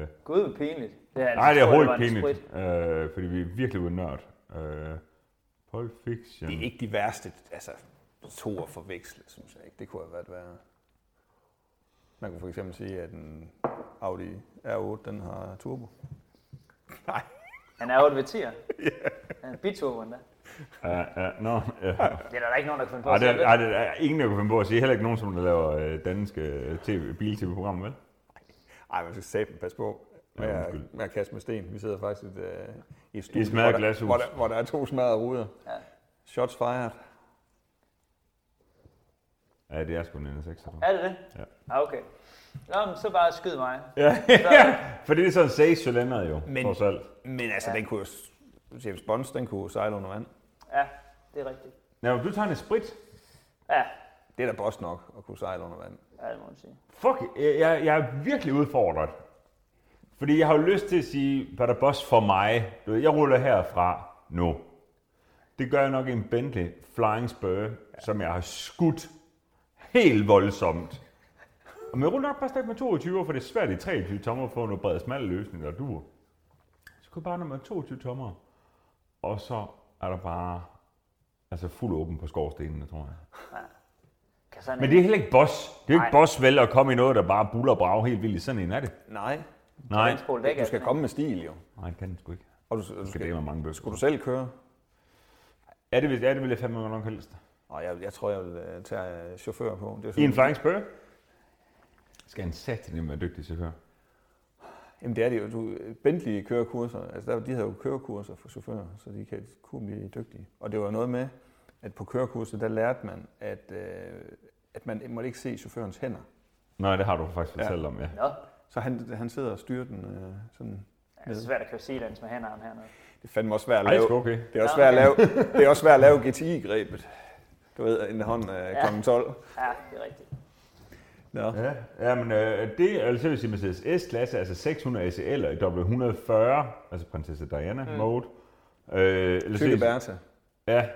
Speaker 1: Øh,
Speaker 3: Gud, hvor pinligt. Altså, Det er,
Speaker 1: nej, det er overhovedet
Speaker 3: overhovedet
Speaker 1: ikke pinligt, øh, fordi vi er virkelig uden nørd. Øh, Pulp Fiction.
Speaker 2: Det er ikke de værste, altså to at forveksle, synes jeg ikke. Det kunne have været værre. Man kunne for eksempel sige, at en Audi R8, den har turbo. Nej.
Speaker 3: Han er 8 ved 10'er. yeah. Han er biturboen der.
Speaker 1: Øh, øh, nå, øh.
Speaker 3: Det er der da ikke nogen, der kan finde på
Speaker 1: Ej,
Speaker 3: at
Speaker 1: det,
Speaker 3: sige
Speaker 1: er,
Speaker 3: det.
Speaker 1: ej, det er ingen, der kunne finde på at sige. Heller ikke nogen, som laver øh, danske TV, bil-tv-programmer, vel?
Speaker 2: Ej, man skal sætte pas på med,
Speaker 1: Ja,
Speaker 2: at,
Speaker 1: undskyld.
Speaker 2: med at kaste med sten. Vi sidder faktisk et, øh, i et
Speaker 1: I
Speaker 2: studie,
Speaker 1: et
Speaker 2: hvor,
Speaker 1: smadret
Speaker 2: der,
Speaker 1: glashus.
Speaker 2: hvor, der, hvor der er to smadrede ruder.
Speaker 3: Ja.
Speaker 2: Shots fired.
Speaker 1: Ja, det er sgu en NSX. tror jeg.
Speaker 3: Er det det?
Speaker 1: Ja.
Speaker 3: Ah, okay. Nå, men så bare skyd mig.
Speaker 1: Ja, for det er sådan 6 cylinder jo,
Speaker 2: Men-
Speaker 1: Men... trods alt.
Speaker 2: Men altså, ja. den kunne jo... s- James Bonds, den kunne jo sejle under vand.
Speaker 3: Ja, det er rigtigt.
Speaker 1: Ja, men du tager en sprit.
Speaker 3: Ja,
Speaker 2: Det er da boss nok at kunne sejle under vand.
Speaker 3: ja det må man sige.
Speaker 1: Fuck, jeg, jeg- jeg er virkelig udfordret. Fordi jeg har jo lyst til at sige, hvad der boss for mig. Du ved, jeg ruller herfra nu. Det gør jeg nok i en Bentley Flying Spur, ja. som jeg har skudt helt voldsomt. Og jeg ruller nok bare stadig med 22, for det er svært i 23 tommer at få noget bred smal løsning, der duer. Så kunne jeg bare nummer 22 tommer, og så er der bare altså fuld åben på skorstenene, tror jeg.
Speaker 3: Kan sådan
Speaker 1: Men
Speaker 3: en-
Speaker 1: det er heller ikke boss. Det er jo
Speaker 3: Nej.
Speaker 1: ikke boss vel at komme i noget, der bare buller og brager helt vildt. Sådan en er det.
Speaker 2: Nej,
Speaker 1: Nej,
Speaker 3: den spole dæk
Speaker 2: du
Speaker 3: af
Speaker 2: skal
Speaker 3: sådan en.
Speaker 2: komme med stil jo.
Speaker 1: nej, det kan den sgu ikke.
Speaker 2: Og du, du
Speaker 1: Det
Speaker 2: skal,
Speaker 1: er mange bøger.
Speaker 2: skulle du selv køre?
Speaker 1: Er det, er det vil jeg fandme godt nok helst.
Speaker 2: Nå, jeg, jeg tror, jeg vil øh, tage øh, chauffør på. Det er
Speaker 1: I en
Speaker 2: sådan-
Speaker 1: flying spur? Skal han sætte den være dygtig chauffør?
Speaker 2: Jamen det er det jo. Du, Bentley kørekurser, altså der, de havde jo kørekurser for chauffører, så de kan, kunne blive dygtige. Og det var noget med, at på kørekurset, der lærte man, at, øh, at man måtte ikke se chaufførens hænder.
Speaker 1: Nej, det har du faktisk fortalt om, ja.
Speaker 3: Nå,
Speaker 2: Så han, han sidder og styrer den øh, sådan.
Speaker 3: det er svært at køre silence med hænderne hernede.
Speaker 2: Det fandt mig også svært at
Speaker 1: Ej, det er
Speaker 2: lave.
Speaker 1: sgu okay.
Speaker 2: Det er også
Speaker 3: Nå,
Speaker 2: svært at lave, det er også svært at lave GTI-grebet. Du ved, inden hånden er kl. 12.
Speaker 3: Ja, det er rigtigt.
Speaker 2: Nå.
Speaker 1: Ja, ja men øh, det er altså, vil sige, Mercedes S-klasse, altså 600 ACL'er i W140, altså prinsesse Diana mm. mode. Øh, eller
Speaker 2: Tykke
Speaker 1: seriøst-
Speaker 2: Bertha.
Speaker 1: Ja.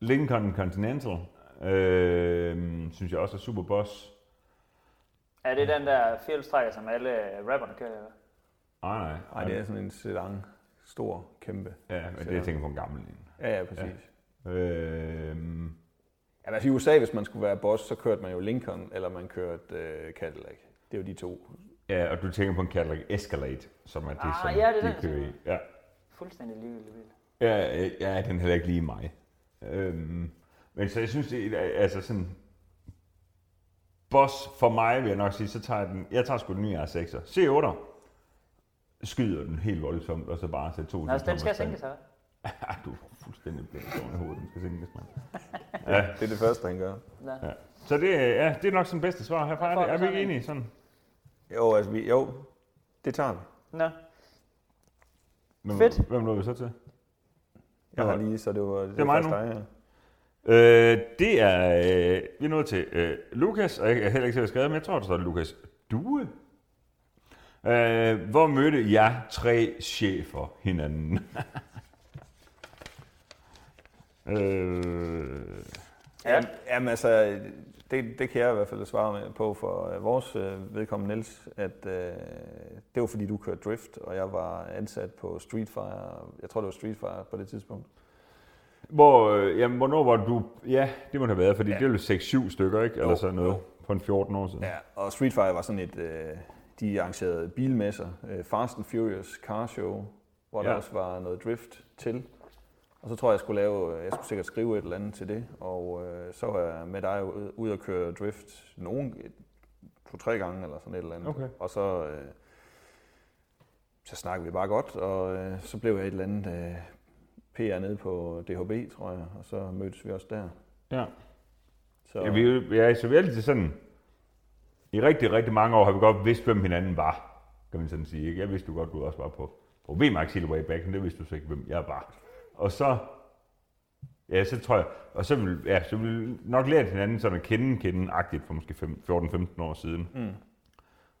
Speaker 1: Lincoln Continental, øh, synes jeg også er super boss.
Speaker 3: Er det den der fjælstrækker, som alle rapperne kører? eller?
Speaker 1: Nej, nej.
Speaker 2: Ej, det er sådan en sedan. Stor, kæmpe.
Speaker 1: Ja, men det er jeg tænker på en gammel en.
Speaker 2: Ja, ja, præcis.
Speaker 1: Øh,
Speaker 2: Ja, altså i USA, hvis man skulle være boss, så kørte man jo Lincoln, eller man kørte øh, Cadillac. Det er jo de to.
Speaker 1: Ja, og du tænker på en Cadillac Escalade, som er det,
Speaker 3: Ah,
Speaker 1: som
Speaker 3: ja, det er
Speaker 1: de
Speaker 3: den,
Speaker 1: kører i.
Speaker 3: som-
Speaker 1: Ja.
Speaker 3: Fuldstændig ligegyldig bil.
Speaker 1: Ja, øh, ja, den er heller ikke lige mig. Øhm, men så jeg synes, det er, altså sådan... Boss for mig, vil jeg nok sige, så tager jeg den... Jeg tager sgu den nye R6'er. C8'er skyder den helt voldsomt, og så bare sætter to...
Speaker 3: Nå, så den skal sænke sig.
Speaker 1: Ja, du er fuldstændig blæst oven i hovedet, den skal sænkes, mand.
Speaker 2: Det er det første, han gør.
Speaker 3: Nå.
Speaker 1: Ja. Så det, øh, ja, det er nok sådan bedste svar herfra. Er, det, er vi ikke enige sådan?
Speaker 2: Jo, altså vi, jo, det tager vi.
Speaker 3: Nå.
Speaker 1: Hvem,
Speaker 3: Fedt.
Speaker 1: Hvem nåede vi så til?
Speaker 2: Jeg
Speaker 1: Nå.
Speaker 2: har lige, så det var det,
Speaker 1: er mig nu.
Speaker 2: Dig, ja.
Speaker 1: Øh, det er, øh, vi er nået til øh, Lukas, og jeg er heller ikke selv skrevet, men jeg tror, der står Lukas Due. Øh, hvor mødte jeg tre chefer hinanden? øh,
Speaker 2: Ja. Jamen altså, det, det kan jeg i hvert fald svare med på for øh, vores øh, vedkommende, Niels, at øh, det var fordi, du kørte drift, og jeg var ansat på Street Fire. Jeg tror, det var Street Fire på det tidspunkt.
Speaker 1: hvor, øh, jamen, hvornår var du... Ja, det må det have været, fordi ja. det er jo 6-7 stykker, ikke? Eller
Speaker 2: Jo,
Speaker 1: sådan noget.
Speaker 2: jo.
Speaker 1: På en 14 år siden.
Speaker 2: Ja, og Street Fire var sådan et, øh, de arrangerede bilmesser, øh, Fast and Furious Car Show, hvor ja. der
Speaker 1: Ja.
Speaker 2: også var noget drift til. Og så tror jeg, jeg skulle lave, øh, jeg skulle sikkert skrive et eller andet til det, og øh, så var jeg med dig ude- ude og køre drift nogen, to-tre gange eller sådan et eller andet.
Speaker 1: Okay.
Speaker 2: Og så, øh, så snakkede vi bare godt, og øh, så blev jeg et eller andet øh, PR nede på DHB, tror jeg, og så mødtes vi også der.
Speaker 1: Ja.
Speaker 2: Så,
Speaker 1: Ja, vi, er jo- ja, så vi er altid sådan... I rigtig, rigtig mange år har vi godt vidst, hvem hinanden var, kan man sådan sige. Ikke? Jeg vidste jo godt, du også var på, på VMAX hele way back, men det vidste du så ikke, hvem jeg var. Og så...
Speaker 4: Ja, så tror jeg, og så vil, ja, så vil nok lært hinanden sådan at kende kende agtigt for måske fem- 14-15 år siden. Mm.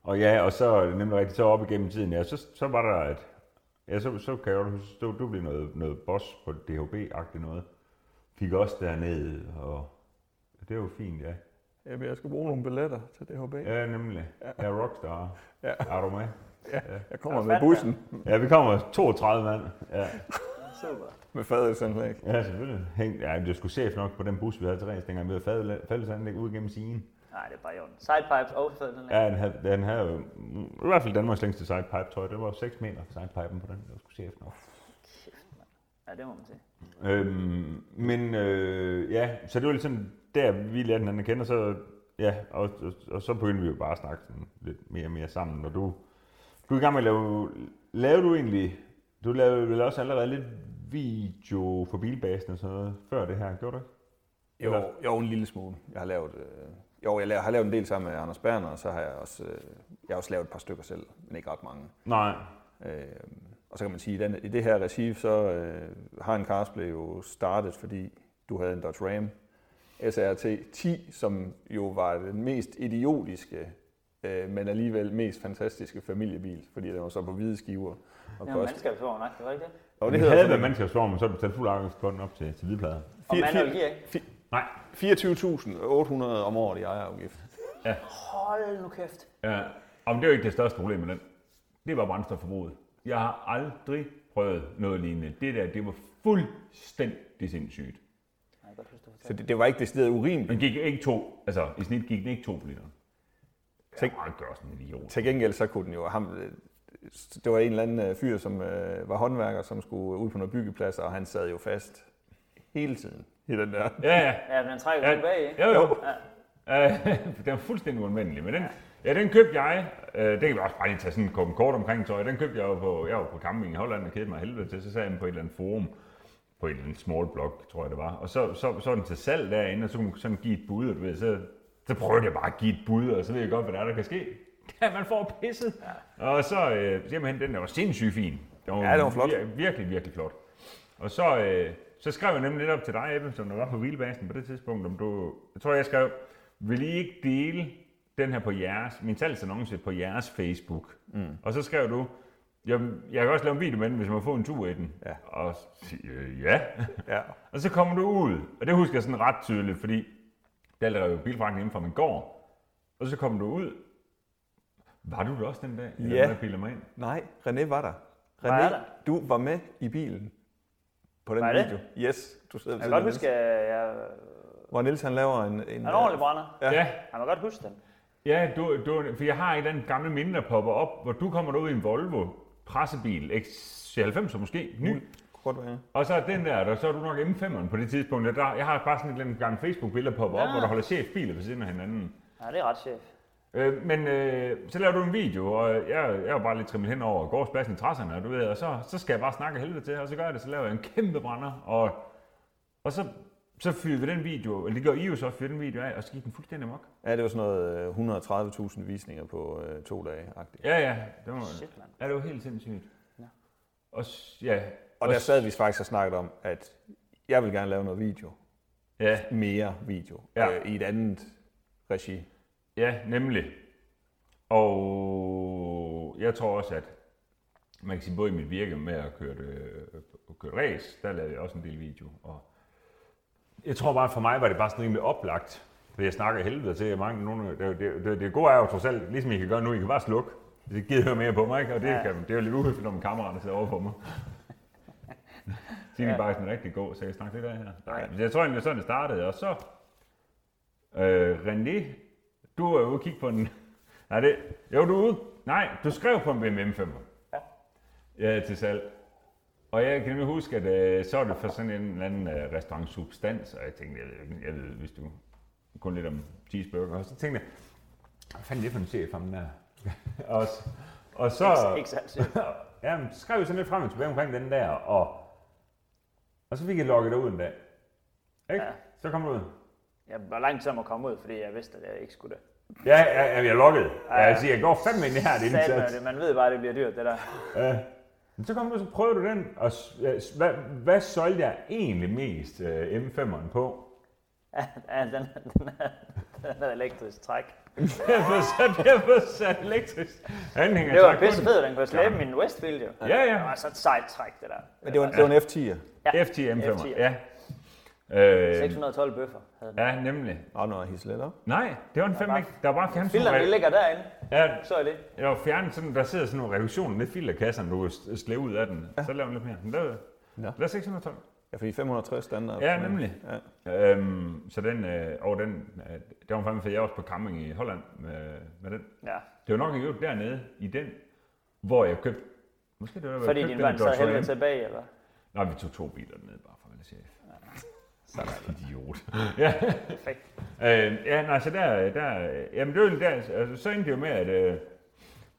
Speaker 4: Og ja, og så er det nemlig rigtigt, så op igennem tiden, ja, så, så var der et, ja, så, så kan jeg godt huske, du, du blev noget, noget boss på DHB-agtigt noget. Fik også derned, og det var jo fint, ja.
Speaker 2: Jamen, jeg skal bruge nogle billetter til DHB. Ja.
Speaker 4: Ja, nemlig. Ja, rockstar.
Speaker 2: Ja.
Speaker 4: Ja. Er du med?
Speaker 2: Jeg kommer
Speaker 3: Ja,
Speaker 2: med
Speaker 3: fandme.
Speaker 2: bussen
Speaker 4: Ja, vi kommer 32 mand. Ja,
Speaker 3: Super.
Speaker 2: med fadelsanlæg.
Speaker 4: ja selvfølgelig. Hæng, ja, det skulle chef nok på den bus, vi havde til rens dengang. Vi havde fadel- fællesanlæg ud gennem sinen.
Speaker 3: Nej, det er bare i orden. Sidepipes og fædrene. Ja.
Speaker 4: Ja, den havde, den havde jo, mm, i hvert fald Danmarks længste sidepipe, tror jeg. Det var 6 meter sidepipen på den. Det var sgu chef nok.
Speaker 3: ja, det må man sige.
Speaker 4: Øhm, men øh, ja, så det var ligesom der, vi lærte hinanden at kende, og så, ja, og, og, og så begyndte vi jo bare at snakke sådan lidt mere og mere sammen, og du, du er i gang med at lave, lavede du egentlig, du lavede vel også allerede lidt video for bilbasen og sådan noget, før det her, gjorde du ikke?
Speaker 2: Jo, jo, en lille smule. Jeg har lavet, øh, jo, jeg laver, har lavet en del sammen med Anders Berner, og så har jeg også, øh, jeg har også lavet et par stykker selv, men ikke ret mange.
Speaker 4: Nej,
Speaker 2: Øh, og så kan man sige, at i den- i det her regi, så øh, har en Cars blev jo startet, fordi du havde en Dodge Ram SRT 10, som jo var den mest idiotiske, øh, men alligevel mest fantastiske familiebil, fordi den var så på hvide skiver. Og
Speaker 3: Det var
Speaker 2: koste.
Speaker 3: mandskabsvogn, nok, det var ikke det?
Speaker 4: det
Speaker 2: Og det
Speaker 4: vi havde
Speaker 2: hedder
Speaker 4: været
Speaker 2: sådan
Speaker 4: mandskabsform, men så blev fuld afgift på den op til, til hvidplader.
Speaker 3: Og
Speaker 2: Fire-
Speaker 3: manuel
Speaker 2: fire-
Speaker 3: gear, ikke?
Speaker 2: fi-
Speaker 4: Nej,
Speaker 2: 24.800 om året i ejerafgift.
Speaker 3: Hold nu kæft.
Speaker 1: Ja. Om det er jo ikke det største problem med den. Det var brændstofforbruget. Jeg har aldrig prøvet noget lignende. Det der, det var fuldstændig sindssygt.
Speaker 3: Nej, jeg kan godt huske, du fortalte.
Speaker 2: Så det, det var ikke decideret urimeligt.
Speaker 1: Den gik ikke to, altså i snit gik den ikke to på literen. Tænk. Jeg gør sådan en idiot.
Speaker 2: Til gengæld så kunne den jo ham, øh, det var en eller anden øh, fyr, som øh, var håndværker, som skulle ud på noget byggeplads, og han sad jo fast hele tiden i den der.
Speaker 1: Ja, ja.
Speaker 3: Ja, men den trækker
Speaker 1: Ja,
Speaker 3: ja. tilbage, ikke?
Speaker 1: Jo, jo. Ja. den var fuldstændig uanvendelig, men den, ja, den købte jeg. Øh, det kan vi også bare lige tage sådan en kort- kort omkring, tror jeg. Den købte jeg jo på, jeg var på camping i Holland og kedede mig af helvede til, så sad jeg på et eller andet forum på et eller andet small blog, tror jeg det var. Og så, så, så var den til salg derinde, og så kunne man sådan give et bud, og du ved, så, så prøvede jeg bare at give et bud, og så ved jeg godt, hvad der er, der kan ske. Ja, man får pisset. Ja. Og så, øh, simpelthen, den der var sindssygt fin. Den
Speaker 2: Ja, den var flot.
Speaker 1: vir- virkelig, virkelig flot. Og så, øh, så skrev jeg nemlig lidt op til dig, Ebbe, som der var på hvilebasen på det tidspunkt, om du... Jeg tror, jeg skrev, vil I ikke dele den her på jeres, min salgsannonce på jeres Facebook? Mm. Og så skrev du, jeg, jeg kan også lave en video med den, hvis man får en tur i den.
Speaker 2: Ja.
Speaker 1: Og så siger jeg, ja.
Speaker 2: Ja.
Speaker 1: og så kommer du ud, og det husker jeg sådan ret tydeligt, fordi der lavede jeg jo bilfragten hjemme fra min gård. Og så kom du ud. Var du der også den dag? Eller
Speaker 2: Ja.
Speaker 1: hvad bilder mig ind?
Speaker 2: Nej, René var der. René,
Speaker 3: Var jeg der?
Speaker 2: du var med i bilen på den
Speaker 3: Var jeg
Speaker 2: video. Yes, du sidder ved siden
Speaker 3: Jeg kan
Speaker 2: af
Speaker 3: godt
Speaker 2: Niels.
Speaker 3: huske, at jeg
Speaker 2: Hvor Niels han laver en... en
Speaker 3: er en ordentlig brænder.
Speaker 2: Ja.
Speaker 1: ja.
Speaker 3: Jeg kan godt huske den.
Speaker 1: Ja, du, du, for jeg har et eller andet gamle minde, der popper op, hvor du kommer ud i en Volvo pressebil, X90 måske, ny.
Speaker 2: Mm. Kort vej.
Speaker 1: Og så er den der, der så er du nok M5'eren på det tidspunkt. og Der, jeg har bare sådan et eller andet gammelt Facebook-billede, der popper op,
Speaker 2: Ah.
Speaker 3: Nå.
Speaker 1: hvor der holder chefbiler ved siden af hinanden.
Speaker 3: Ja, det er ret chef.
Speaker 1: Øh, men øh, så laver du en video, og jeg, jeg var bare lidt trimmet hen over gårdspladsen i træsserne, og du ved, og så, så skal jeg bare snakke af helvede til, og så gør jeg det, så laver jeg en kæmpe brænder, og, og så, så fyrer vi den video, eller det gør I jo så, fyrer den video af, og så gik den fuldstændig amok.
Speaker 2: Ja, det var sådan noget øh, 130.000 visninger på øh, to dage. -agtigt.
Speaker 1: Ja, ja, det var,
Speaker 3: Shit, mand.
Speaker 1: Ja, det var helt sindssygt.
Speaker 3: Ja.
Speaker 1: Og, s- ja,
Speaker 2: Og der sad vi faktisk og snakkede om, at jeg vil gerne lave noget video.
Speaker 1: ja,
Speaker 2: Mere video.
Speaker 1: Ja.
Speaker 2: Øh, I et andet regi.
Speaker 1: ja, nemlig. Og jeg tror også, at man kan sige, både i mit virke med at køre, det, øh, køre race, der lavede jeg også en del video. Og jeg tror bare, for mig var det bare sådan rimelig oplagt. For jeg snakker af helvede til, at mange, nogle, det, det, det, det, gode er jo trods alt, ligesom I kan gøre nu, I kan bare slukke. Det gider høre mere på mig, ikke? og det,
Speaker 3: Ja.
Speaker 1: ja. kan, det er jo lidt uhøfligt, når min kammerat der sidder over for mig. Så er
Speaker 3: Ja.
Speaker 1: vi bare sådan rigtig god, så kan jeg snakke lidt af her. Nej, men jeg tror egentlig, det var sådan det startede. Og så, øh, René, du er ude og kigge på en... Nej, det... Jo, du er ude. Nej, du skrev på en BMW 5 Ja. til salg. Og jeg kan nemlig huske, at øh, så var det for sådan en eller anden øh, restaurant substans, og jeg tænkte, jeg ved, ikke- jeg ved hvis du kun lidt om cheeseburger, og så tænkte jeg, hvad fanden er det for en chef, ham der? og, s- og så...
Speaker 3: Ikke, ikke særlig chef.
Speaker 4: Ja, men så skrev vi sådan lidt frem og tilbage omkring den der, og, og så fik jeg logget dig ud en dag. Ikke?
Speaker 3: Ja.
Speaker 4: Ja. Så kom du ud.
Speaker 3: Jeg var lang tid om at komme ud, fordi jeg vidste, at jeg ikke skulle det.
Speaker 4: Ja, ja, ja jeg loggede. Ja,
Speaker 3: ja.
Speaker 4: jeg siger, jeg går fandme ind i her, det
Speaker 3: Satme,
Speaker 4: indsats.
Speaker 3: det. Man ved bare, at det bliver dyrt, det der.
Speaker 1: Men Så kom du, så prøvede du den, og s- øh, s- hvad, hvad solgte jeg egentlig mest øh, M5'eren på?
Speaker 3: Ja, den, den, er, den er elektrisk træk.
Speaker 1: Derfor så, derfor så elektrisk anhænger.
Speaker 3: Det var
Speaker 1: tak, kun.
Speaker 3: pisse fedt, den kunne slæbe min Westfield jo.
Speaker 1: Ja, ja.
Speaker 3: Det var så et sejt træk, det der.
Speaker 2: Men det var, det var en F10'er.
Speaker 1: FT M5'er,
Speaker 3: FT.
Speaker 1: ja. Øh,
Speaker 3: 612 bøffer havde den.
Speaker 1: ja, nemlig.
Speaker 2: Nå, når jeg hisser lidt op.
Speaker 1: Nej, det var en 5
Speaker 3: bare-
Speaker 1: Der var bare fjernsyn.
Speaker 3: Filterne de ligger derinde,
Speaker 1: Ja,
Speaker 3: så er det.
Speaker 1: Jeg var fjernet sådan, der sidder sådan nogle reduktioner lidt filterkasserne, du kan s- slæve ud af den. Ja. Så laver den lidt mere. Den lavede,
Speaker 2: Nå.
Speaker 1: lavede 612.
Speaker 2: Ja, fordi 560 standard.
Speaker 1: Ja, nemlig.
Speaker 2: Ja.
Speaker 1: Øhm, så den, øh, og den, øh, det var fandme fedt. Jeg var også på camping i Holland med, med den.
Speaker 3: Ja.
Speaker 1: Det var nok en øvrigt dernede i den, hvor jeg købte, måske det var, hvor
Speaker 3: Fordi
Speaker 1: jeg
Speaker 3: din
Speaker 1: købte
Speaker 3: børn sad
Speaker 1: Dodge
Speaker 3: helvede
Speaker 1: Ram.
Speaker 3: tilbage, eller?
Speaker 1: Nej, vi tog to biler dernede, bare for at være chef.
Speaker 3: Sådan.
Speaker 1: Idiot.
Speaker 3: Perfekt.
Speaker 1: Øh, ja, nej, så der, der, jamen det var egentlig der, altså, så endte det jo med, at øh,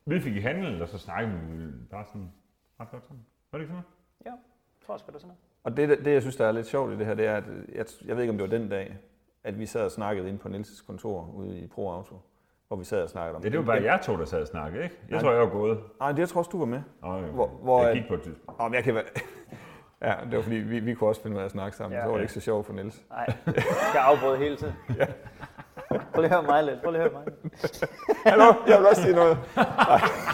Speaker 1: vi fik i handel, og så snakkede vi øh, bare sådan ret godt sammen. Var det ikke sådan noget?
Speaker 3: Ja, jeg tror sgu det er sådan noget.
Speaker 2: Og det, det, jeg synes, der er lidt sjovt i det her, det er, at jeg, jeg ved ikke, om det var den dag, at vi sad og snakkede inde på Nielses kontor ude i Pro Auto, hvor vi sad og snakkede om
Speaker 1: Ja, det var bare jeg to, der sad og snakkede, ikke? Jeg tror, jeg var gået.
Speaker 2: Nej, det jeg tror også, du var med.
Speaker 1: Og, øh,
Speaker 2: Hvor- hvor,
Speaker 1: jeg
Speaker 2: øh,
Speaker 1: gik på et tidspunkt.
Speaker 2: Om jeg kan være... ja, det var fordi, vi, vi kunne også finde ud af at snakke sammen,
Speaker 3: Ja.
Speaker 2: ja, så var det ikke så sjovt for Niels.
Speaker 3: Nej, jeg skal afbryde hele tiden. Prøv lige at høre mig lidt. Prøv lige at høre mig lidt.
Speaker 2: Hallo, jeg vil også sige noget.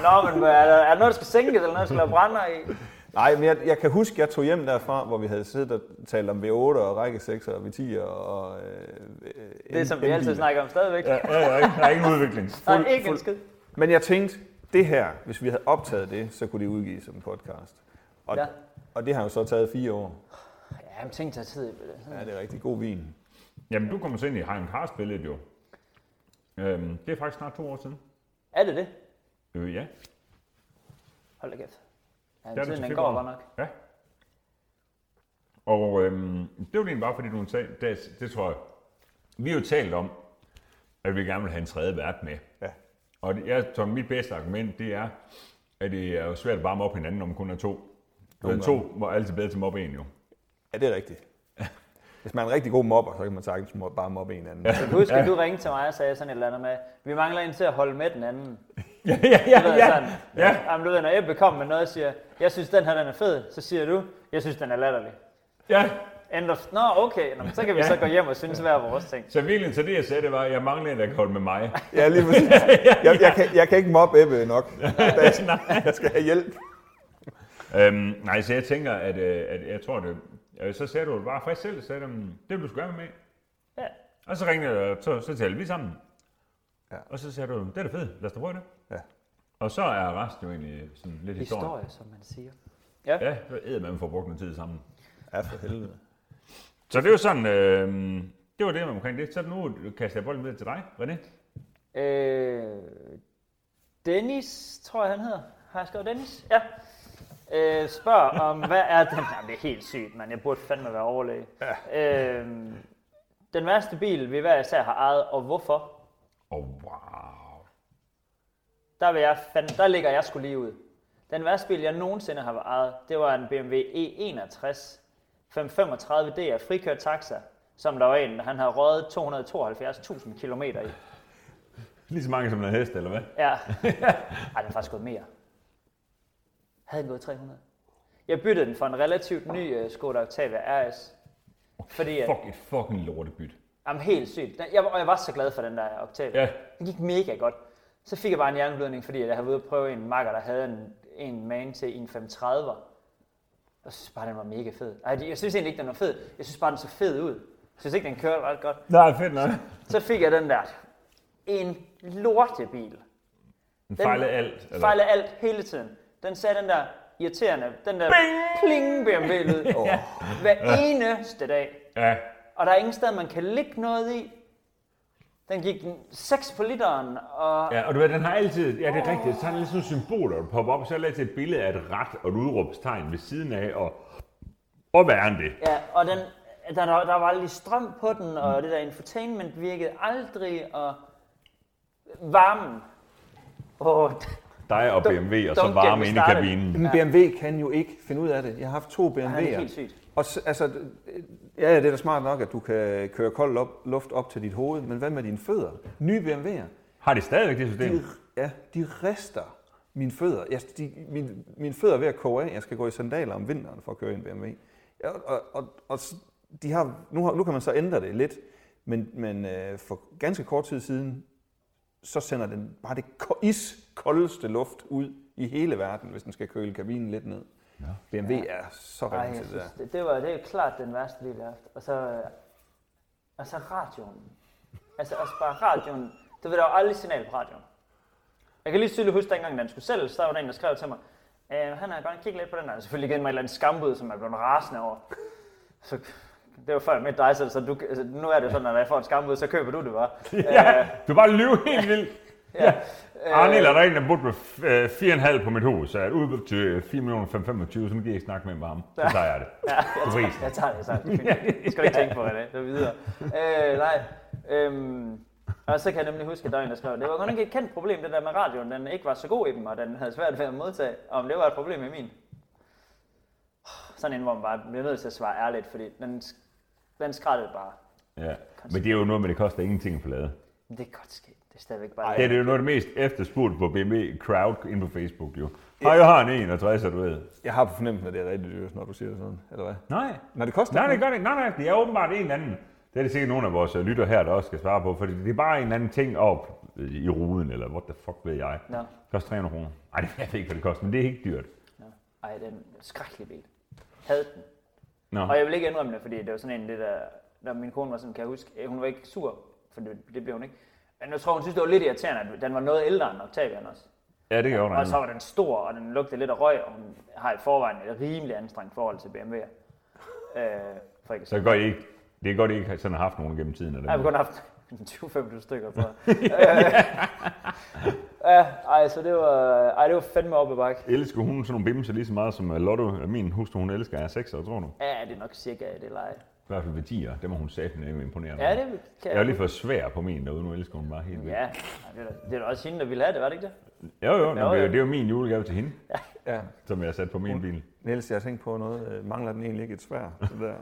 Speaker 3: Nå, men hvad er der, er der noget, der skal sænkes, eller noget, der skal lave brænder i?
Speaker 2: Nej, men jeg, jeg kan huske, jeg tog hjem derfra, hvor vi havde siddet og talt om V8 og række 6 og V10 og... Øh, øh,
Speaker 3: Det, som vi altid snakker om stadigvæk.
Speaker 1: Ja, ja, ja, ikke- der er ingen udvikling.
Speaker 3: Der er ikke en skid.
Speaker 2: Men jeg tænkte, det her, hvis vi havde optaget det, så kunne det udgives som en podcast. Og,
Speaker 3: Ja.
Speaker 2: ja. og det har jo så taget fire år.
Speaker 3: Ja, men tænk tager tid. Det.
Speaker 2: Ja, det er rigtig god vin.
Speaker 1: Jamen, du kommer så ind i Heim Cars billedet jo. Øhm, det er faktisk snart to år siden.
Speaker 3: Er det det?
Speaker 1: Øh, ja.
Speaker 3: Hold da kæft. Ja,
Speaker 1: det
Speaker 3: men tiden
Speaker 1: til
Speaker 3: den
Speaker 1: februar.
Speaker 3: går godt nok.
Speaker 1: Ja. Og øhm, det var egentlig bare fordi, du sagde, det, det tror jeg, vi har jo talt om, at vi gerne vil have en tredje vært med.
Speaker 2: Ja.
Speaker 1: Og det, jeg tror, mit bedste argument, det er, at det er jo svært at varme op hinanden, når man kun er to.
Speaker 2: Nogle
Speaker 1: Nogle to var altid bedre til at mobbe en jo.
Speaker 2: ja, det er rigtigt. Hvis man er en rigtig god mobber, så kan man sagtens mo- bare mobbe en anden.
Speaker 3: Jeg kan huske, at du ringte til mig og sagde sådan et eller andet med, vi mangler en til at holde med den anden.
Speaker 1: ja, ja,
Speaker 3: Du ved, sådan,
Speaker 1: ja.
Speaker 3: Jamen, du ved, når Ebbe kommer med noget og siger, jeg synes, den her den er fed, så siger du, jeg synes, den er latterlig.
Speaker 1: ja.
Speaker 3: End of, Nå, okay, Nå, men så kan vi så gå hjem og synes hver vores ting.
Speaker 1: Så virkelig, så det jeg sagde, det var, at jeg mangler en, der kan holde med mig.
Speaker 2: Ja, lige præcis. Jeg, jeg, kan, jeg kan ikke mobbe Ebbe nok.
Speaker 1: nej.
Speaker 2: Jeg skal have hjælp.
Speaker 1: Øhm, nej, så jeg tænker, at, øh, at jeg tror, det... øh, Så sagde du det bare frisk selv, sagde du, "Mm, det vil du skulle gerne være med.
Speaker 3: Ja.
Speaker 1: Og så ringede jeg, og så, så talte vi sammen.
Speaker 2: Ja.
Speaker 1: Og så sagde du, det er da fedt, lad os da prøve det.
Speaker 2: Ja.
Speaker 1: Og så er resten jo egentlig sådan lidt historie.
Speaker 3: Historie, som man siger.
Speaker 1: Ja, så æder man for brugt noget tid sammen.
Speaker 2: Ja, for helvede.
Speaker 1: Så det er jo sådan, øh, det var det omkring det. Så nu kaster jeg bolden videre til dig, René.
Speaker 3: Øh, Dennis, tror jeg han hedder. Har jeg skrevet Dennis? Ja. Øh, spørg om, hvad er den... Jamen, det er helt sygt, man. Jeg burde fandme være overlæge. Ja. Øh, den værste bil, vi hver især har ejet, og hvorfor?
Speaker 1: Oh, wow.
Speaker 3: Der, vil jeg fandme, der ligger jeg skulle lige ud. Den værste bil, jeg nogensinde har ejet, det var en BMW E61 535 D af frikørt taxa, som der var en, han havde røget 272.000 km i.
Speaker 1: Lige så mange som en hest, eller hvad?
Speaker 3: Ja. Ej, den er faktisk gået mere. Havde den gået 300? Jeg byttede den for en relativt ny uh, Skoda Octavia RS. Fordi, at,
Speaker 1: Fuck et fucking lortebyt.
Speaker 3: jamen helt sygt. Den- Jeg, var- og jeg var så glad for den der Octavia.
Speaker 1: Ja.
Speaker 3: Den gik mega godt. Så fik jeg bare en hjerneblødning, fordi jeg havde været ude at prøve en makker, der havde en, en man til en 530'er. Jeg synes bare, den var mega fed. Ej, jeg synes egentlig ikke, den var fed. Jeg synes bare, den så fed ud. Jeg synes ikke, den kørte ret godt.
Speaker 1: Nej, fedt nok.
Speaker 3: Så fik jeg den der. En lortebil.
Speaker 1: Den fejlede alt.
Speaker 3: Eller? Fejlede alt hele tiden. Den sagde den der irriterende, den der pling BMW-lyd oh. hver eneste dag.
Speaker 1: Ja,
Speaker 3: Og der er ingen sted, man kan lægge noget i. Den gik 6 på literen, og
Speaker 1: ja, og du ved, den har altid, ja det er rigtigt, så er der lidt sådan nogle symboler, der popper op, så er der altid et billede af et ret og et udråbstegn ved siden af, og, og hvad er det?
Speaker 3: ja, og den, der, der, der var aldrig strøm på den, og det der infotainment virkede aldrig, og varmen. Oh,
Speaker 1: Dig og
Speaker 3: Dunk-
Speaker 1: BMW, og så
Speaker 3: dunk
Speaker 1: varme
Speaker 3: gennem
Speaker 1: inde i
Speaker 3: starten.
Speaker 1: kabinen.
Speaker 2: Men BMW kan jo ikke finde ud af det. Jeg har haft to BMW'er.
Speaker 3: det er helt sygt.
Speaker 2: Og så, altså, øh, ja, ja, det er da smart nok, at du kan køre kold op, luft op til dit hoved, men hvad med dine fødder? Nye BMW'er,
Speaker 1: Har de stadigvæk det system?
Speaker 2: de, ja, de rister Mine fødder, jeg, de, mine, mine fødder er ved at koge af. Jeg skal gå i sandaler om vinteren for at køre i en BMW. Ja, og, og, og s- de har, nu, har, nu kan man så ændre det lidt, men, men øh, for ganske kort tid siden, så sender den bare det ko- iskoldeste luft ud i hele verden, hvis den skal køle kabinen lidt ned. Ja. BMW er så
Speaker 3: Ej,
Speaker 2: ringe
Speaker 3: jeg
Speaker 2: til det
Speaker 3: synes,
Speaker 2: der.
Speaker 3: det, det, var, det er klart den værste bil, jeg har haft. Og så, øh, og så radioen. Altså også bare radioen. Du ved, der var aldrig signal på radioen. Jeg kan lige tydeligt huske, dengang den skulle sælges, der var der en, der skrev til mig, øh, han har godt kigget lidt på den, og han har selvfølgelig givet mig et eller andet skambud, som jeg blev rasende over. Så det var før med dig, så, så du, altså, nu er det sådan, at når jeg får et skambud, så køber du det bare.
Speaker 1: Ja, Øh. du bare lyve helt vildt.
Speaker 3: Ja.
Speaker 1: Arne, eller der er en, der burde med øh, 4,5 på mit hoved, så jeg er ude til 4 millioner 525, så nu gider jeg ikke snakke med ham. om. Så tager jeg det.
Speaker 3: Ja,
Speaker 1: På
Speaker 3: jeg,
Speaker 1: prisen.
Speaker 3: jeg tager det, jeg tager det. Det er fint. Jeg skal du ikke tænke på det. Det er videre. Øh, nej. Øhm, og så kan jeg nemlig huske, at der var en, der skrev, det var godt nok et kendt problem, det der med radioen. Den ikke var så god i dem, og den havde svært ved at modtage. Om det var et problem i min. Sådan en, hvor man bare bliver nødt til at svare ærligt, fordi den, den skrættede bare.
Speaker 4: Ja. Men det er jo noget med, det koster ingenting at få lavet.
Speaker 3: Det er godt sket. Det er stadigvæk bare...
Speaker 4: Det er jo noget af det mest efterspurgte på BMW Crowd inde på Facebook, jo. Hej, jeg har en 61, du ved.
Speaker 2: Jeg har på fornemmelsen, at det er rigtig dyrt, når du siger det sådan, eller hvad?
Speaker 4: Nej.
Speaker 2: Når det koster
Speaker 4: Nej, det gør det ikke. Nej, nej, det er åbenbart en eller anden. Det er det sikkert nogle af vores øh, lytter her, der også skal svare på, for det er bare en eller anden ting op øh, i ruden, eller what the fuck ved jeg.
Speaker 3: Nå.
Speaker 4: Det koster 300 kroner. Nej, det ved jeg ikke, hvad det koster, men det er ikke dyrt.
Speaker 3: Nå. Ej, den er en skrækkelig bil. Havde den.
Speaker 4: Nå.
Speaker 3: Og jeg vil ikke indrømme det, fordi det var sådan en det der, når min kone var sådan, kan jeg huske, øh, hun var ikke sur, for det, det blev hun ikke. Men jeg tror, hun synes, det var lidt irriterende, at den var noget ældre end Octavian også.
Speaker 4: Ja, det gør
Speaker 3: Og så
Speaker 4: jeg.
Speaker 3: var den stor, og den lugtede lidt af røg, og hun har i forvejen et rimelig anstrengt forhold til BMW'er. Øh, for ikke at
Speaker 4: Så
Speaker 3: sige-
Speaker 4: går I ikke. Det er godt, I ikke har- sådan har haft nogen gennem tiden. Eller
Speaker 3: jeg har kun haft 20-25 stykker på. Ja, ej, så det var, ej, det var fandme op ad bakke.
Speaker 4: Elsker hun sådan nogle bimser lige så meget som øh, Lotto, øh, min hustru, hun elsker, er 6 år, tror du?
Speaker 3: Ja, det er nok cirka det leje.
Speaker 4: I hvert fald ved 10'er, dem er hun sat med imponerende.
Speaker 3: Ja, det kan
Speaker 4: Jeg er lige for svær på min derude, nu elsker hun bare helt vildt.
Speaker 3: Ja, ej, det er da- det er da også hende, der ville have det, var det ikke det?
Speaker 4: Jo, jo, nå,
Speaker 3: Jo,
Speaker 4: det, er
Speaker 3: jo.
Speaker 4: jo, det er jo min julegave til hende,
Speaker 2: Ja.
Speaker 4: som jeg har sat på min bil.
Speaker 2: Niels, jeg har tænkt på noget. Øh, Mangler den egentlig ikke et svær? Det der.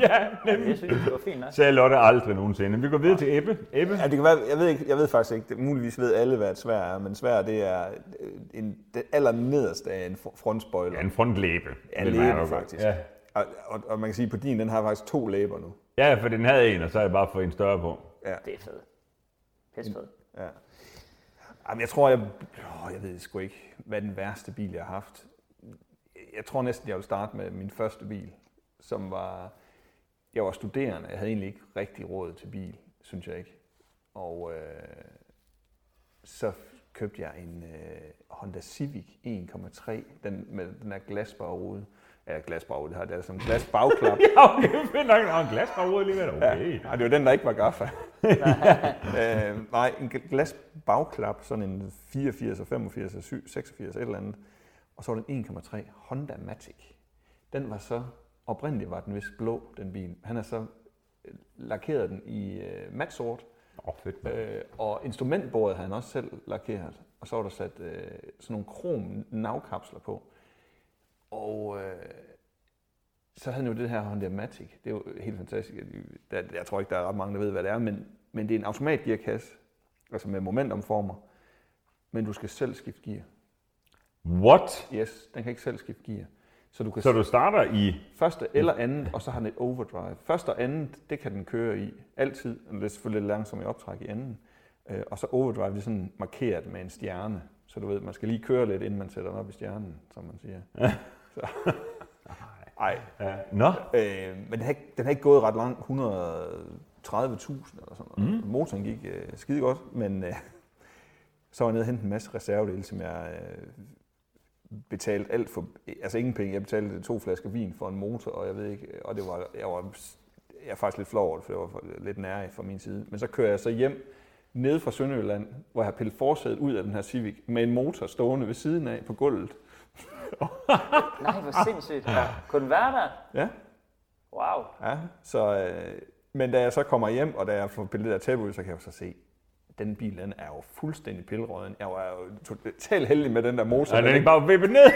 Speaker 4: Ja,
Speaker 3: Jeg synes, det var fint nok.
Speaker 4: sagde Lotte aldrig nogensinde. Vi går videre til Ebbe. Ebbe?
Speaker 2: Ja, det kan være, jeg, ved ikke, jeg ved faktisk ikke, det, muligvis ved alle, hvad et svær er, men svær det er øh, en, det aller nederste af en fr- frontspoiler.
Speaker 4: Ja, en frontlæbe.
Speaker 2: Ja,
Speaker 4: vil man
Speaker 2: læben,
Speaker 4: nok-
Speaker 2: faktisk.
Speaker 4: Ja.
Speaker 2: Og, og, og, man kan sige, at på din, den har faktisk to læber nu.
Speaker 4: ja, for den havde en, og så har jeg bare fået en større på.
Speaker 3: Det er fedt. Pisse fedt.
Speaker 2: Ja. Jamen, jeg tror, jeg, åh, jeg ved sgu ikke, hvad den værste bil, jeg har haft. Jeg tror næsten, jeg vil starte med min første bil, som var... Jeg var studerende, jeg havde egentlig ikke rigtig råd til bil, synes jeg ikke. Og øh, så købte jeg en øh, Honda Civic 1,3, den med den her glasbagrode. Ja, glasbagrode, det har det altså en glasbagklap.
Speaker 4: Ja, okay, fedt nok. Der var en glas fra ude alligevel. Okay.
Speaker 2: Nej, det var den, der ikke var gaffa. øh, nej, en gl- glas bagklap, sådan en 84, 85, 86, et eller andet. Og så var den 1,3 Honda Matic. Den var så, oprindeligt var den vist blå, den bil. Han har så øh, lakeret den i øh, matsort,
Speaker 4: Åh, fedt. mand.
Speaker 2: øh, og instrumentbordet havde han også selv lakeret. Og så var der sat øh, sådan nogle krom navkapsler på. Og øh, så havde han jo det her Honda Matic. Det er jo helt fantastisk. Jeg, jeg tror ikke, der er ret mange, der ved, hvad det er, men, men det er en automatgearkasse, altså med momentumformer. Men du skal selv skifte gear.
Speaker 4: What?
Speaker 2: Yes, den kan ikke selv skifte gear. Så du kan
Speaker 4: Så du starter i...
Speaker 2: Første eller andet, og så har den et overdrive. Første og andet, det kan den køre i altid. Det er selvfølgelig lidt langsomt i optræk i anden. Øh, Og så overdrive, det er sådan markeret med en stjerne. Så du ved, man skal lige køre lidt, inden man sætter den op i stjernen, som man siger. Så- Ej.
Speaker 4: Ja. Nå,
Speaker 2: Øh, men den har, ikke, den har ikke gået ret langt, 130.000 eller sådan noget. Mm. Motoren gik øh, skide godt, men øh, så var jeg nede og hente en masse reservedele, som jeg øh, betalte alt for, altså ingen penge. Jeg betalte to flasker vin for en motor, og jeg ved ikke, og det var, jeg var, jeg er faktisk lidt flov over det, for det var for- lidt nær fra min side. Men så kører jeg så hjem nede fra Sønderjylland, hvor jeg har pillet forsædet ud af den her Civic, med en motor stående ved siden af på gulvet.
Speaker 3: Nej, hvor sindssygt. Kun være der?
Speaker 2: Ja,
Speaker 3: Wow.
Speaker 2: Ja, så, øh, men da jeg så kommer hjem, og da jeg får billedet af tæppe ud, så kan jeg jo så se, den bil den er jo fuldstændig pillerøden. Jeg var jo totalt heldig med den der motor.
Speaker 4: er
Speaker 2: den
Speaker 4: den ikke bare vippet ned?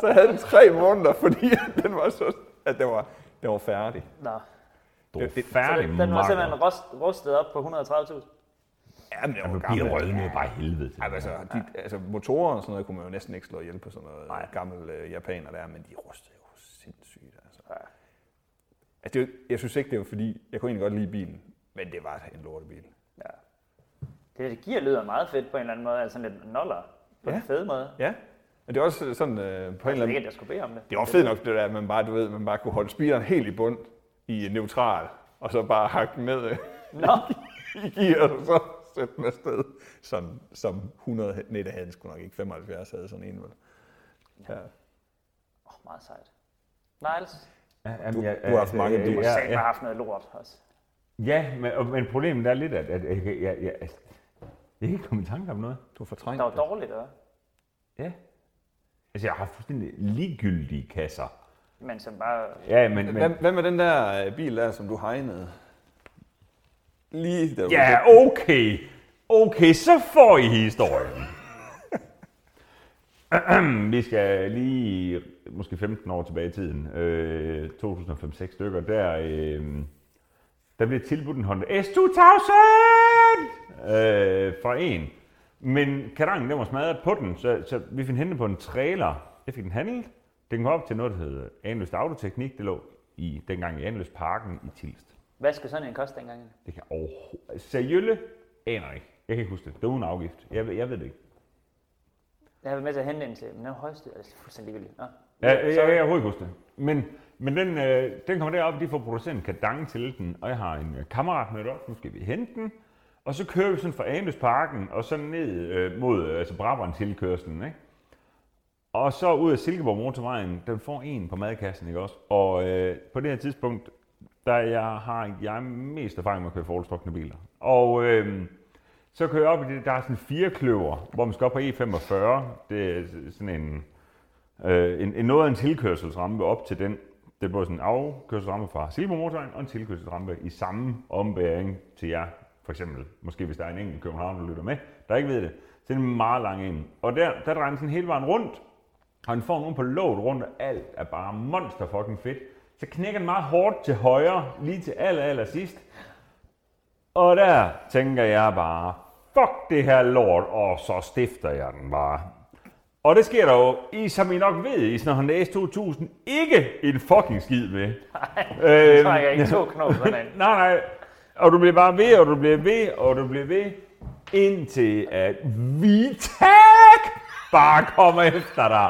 Speaker 2: så havde den tre måneder, fordi at den var så, at den var, den var færdig.
Speaker 3: Nå.
Speaker 4: Du er
Speaker 2: Det- det-
Speaker 4: færdig,
Speaker 3: Den var
Speaker 4: makker.
Speaker 3: simpelthen rust, rustet op på 130.000.
Speaker 2: Ja, men det var
Speaker 1: De
Speaker 2: gammel.
Speaker 1: rødnede bare helvede til.
Speaker 2: Ej, men altså, de, altså, motorer og sådan noget kunne man jo næsten ikke slå ihjel på sådan noget Nej. gammel øh, japaner der, men de rustede jo sindssygt. Altså. Altså, det er jo, ikke- jeg synes ikke, det var fordi, jeg kunne egentlig godt lide bilen, men det var en lortebil.
Speaker 3: Ja. Det der gear lyder meget fedt på en eller anden måde, altså sådan lidt noller på ja.
Speaker 2: Ja.
Speaker 3: en fed måde.
Speaker 2: Ja, men det er også sådan øh, på en
Speaker 3: Jeg
Speaker 2: eller
Speaker 3: ved ikke,
Speaker 2: anden
Speaker 3: at jeg skulle bede om det.
Speaker 2: Det var fedt nok det der, at man bare, du ved, man bare kunne holde speederen helt i bund i neutral, og så bare hakke den ned øh,
Speaker 3: Nå,
Speaker 2: i gear, og så sætte den afsted, som, som 100, nej, det havde den sgu nok ikke, 75 havde sådan en, vel? Ja.
Speaker 3: oh, meget sejt. Niles,
Speaker 1: du,
Speaker 2: du har haft mange
Speaker 3: du
Speaker 2: biler.
Speaker 3: har
Speaker 2: Ja,
Speaker 3: ja, ja. haft noget lort også.
Speaker 1: Ja, men, og, men problemet er lidt, at, at jeg, jeg, jeg, jeg, altså, jeg kan ikke komme i tanke om noget.
Speaker 2: Du fortrængte
Speaker 3: Det var dårligt, eller? hvad?
Speaker 1: Ja. Altså, jeg har haft fuldstændig ligegyldige kasser.
Speaker 3: Men som bare...
Speaker 1: Ja, men... men
Speaker 2: Hvad, hvad med den der øh, bil der, som du hegnede? Lige der.
Speaker 1: ja, okay. Okay, så får I historien. Ahem, Vi skal lige måske 15 år tilbage i tiden. Øh, 2005-6 stykker. Der, øh, der blev tilbudt en Honda S2000 øh, fra en. Men karangen den var smadret på den, så, så vi fik hende på en trailer. Jeg fik den handlet. Den kom op til noget, der hedder Anløst Autoteknik. Det lå i, dengang i Anløst Parken i Tilst.
Speaker 3: Hvad skal sådan en koste engang?
Speaker 1: Det kan overhovedet... Seriølle? Aner ikke. Jeg kan ikke huske det. Det var uden afgift. Jeg, ved- jeg ved det ikke.
Speaker 3: Jeg har været med til at hente en til, men den var højst. Altså, det er fuldstændig ligegyldigt. Nå.
Speaker 1: Ja, jeg, jeg, jeg kan overhovedet ikke huske det. Men, men den, øh, den kommer derop, de får produceret en kadang til den, og jeg har en øh, kammerat med op, nu skal vi hente den. Og så kører vi sådan fra Anløsparken og så ned øh, mod øh, altså Brabant tilkørselen, ikke? Og så ud af Silkeborg Motorvejen, den får en på madkassen, ikke også? Og øh, på det her tidspunkt, der jeg har jeg mest erfaring med at køre forholdstrukne biler. Og øh, så kører jeg op i det, der er sådan fire kløver, hvor man skal op på E45. Det er sådan en, øh, en, en noget af en tilkørselsrampe op til den. Det er både sådan en afkørselsrampe fra Silbermotorvejen og en tilkørselsrampe i samme ombæring til jer. For eksempel, måske hvis der er en enkelt københavn, der lytter med, der ikke ved det. Så er det en meget lang en. Og der, der drejer den sådan hele vejen rundt, og den får nogen på låget rundt, og alt er bare monster fucking fedt. Så knækker den meget hårdt til højre, lige til aller, aller sidst. Og der tænker jeg bare, fuck det her lort, og så stifter jeg den bare. Og det sker der jo, I, som I nok ved, i sådan en S2000, ikke en fucking skid med.
Speaker 3: Så
Speaker 1: Øhm,
Speaker 3: trækker jeg ikke to knop sådan en.
Speaker 1: Nej, nej. Og du bliver bare ved, og du bliver ved, og du bliver ved, indtil at VTAG bare kommer efter dig.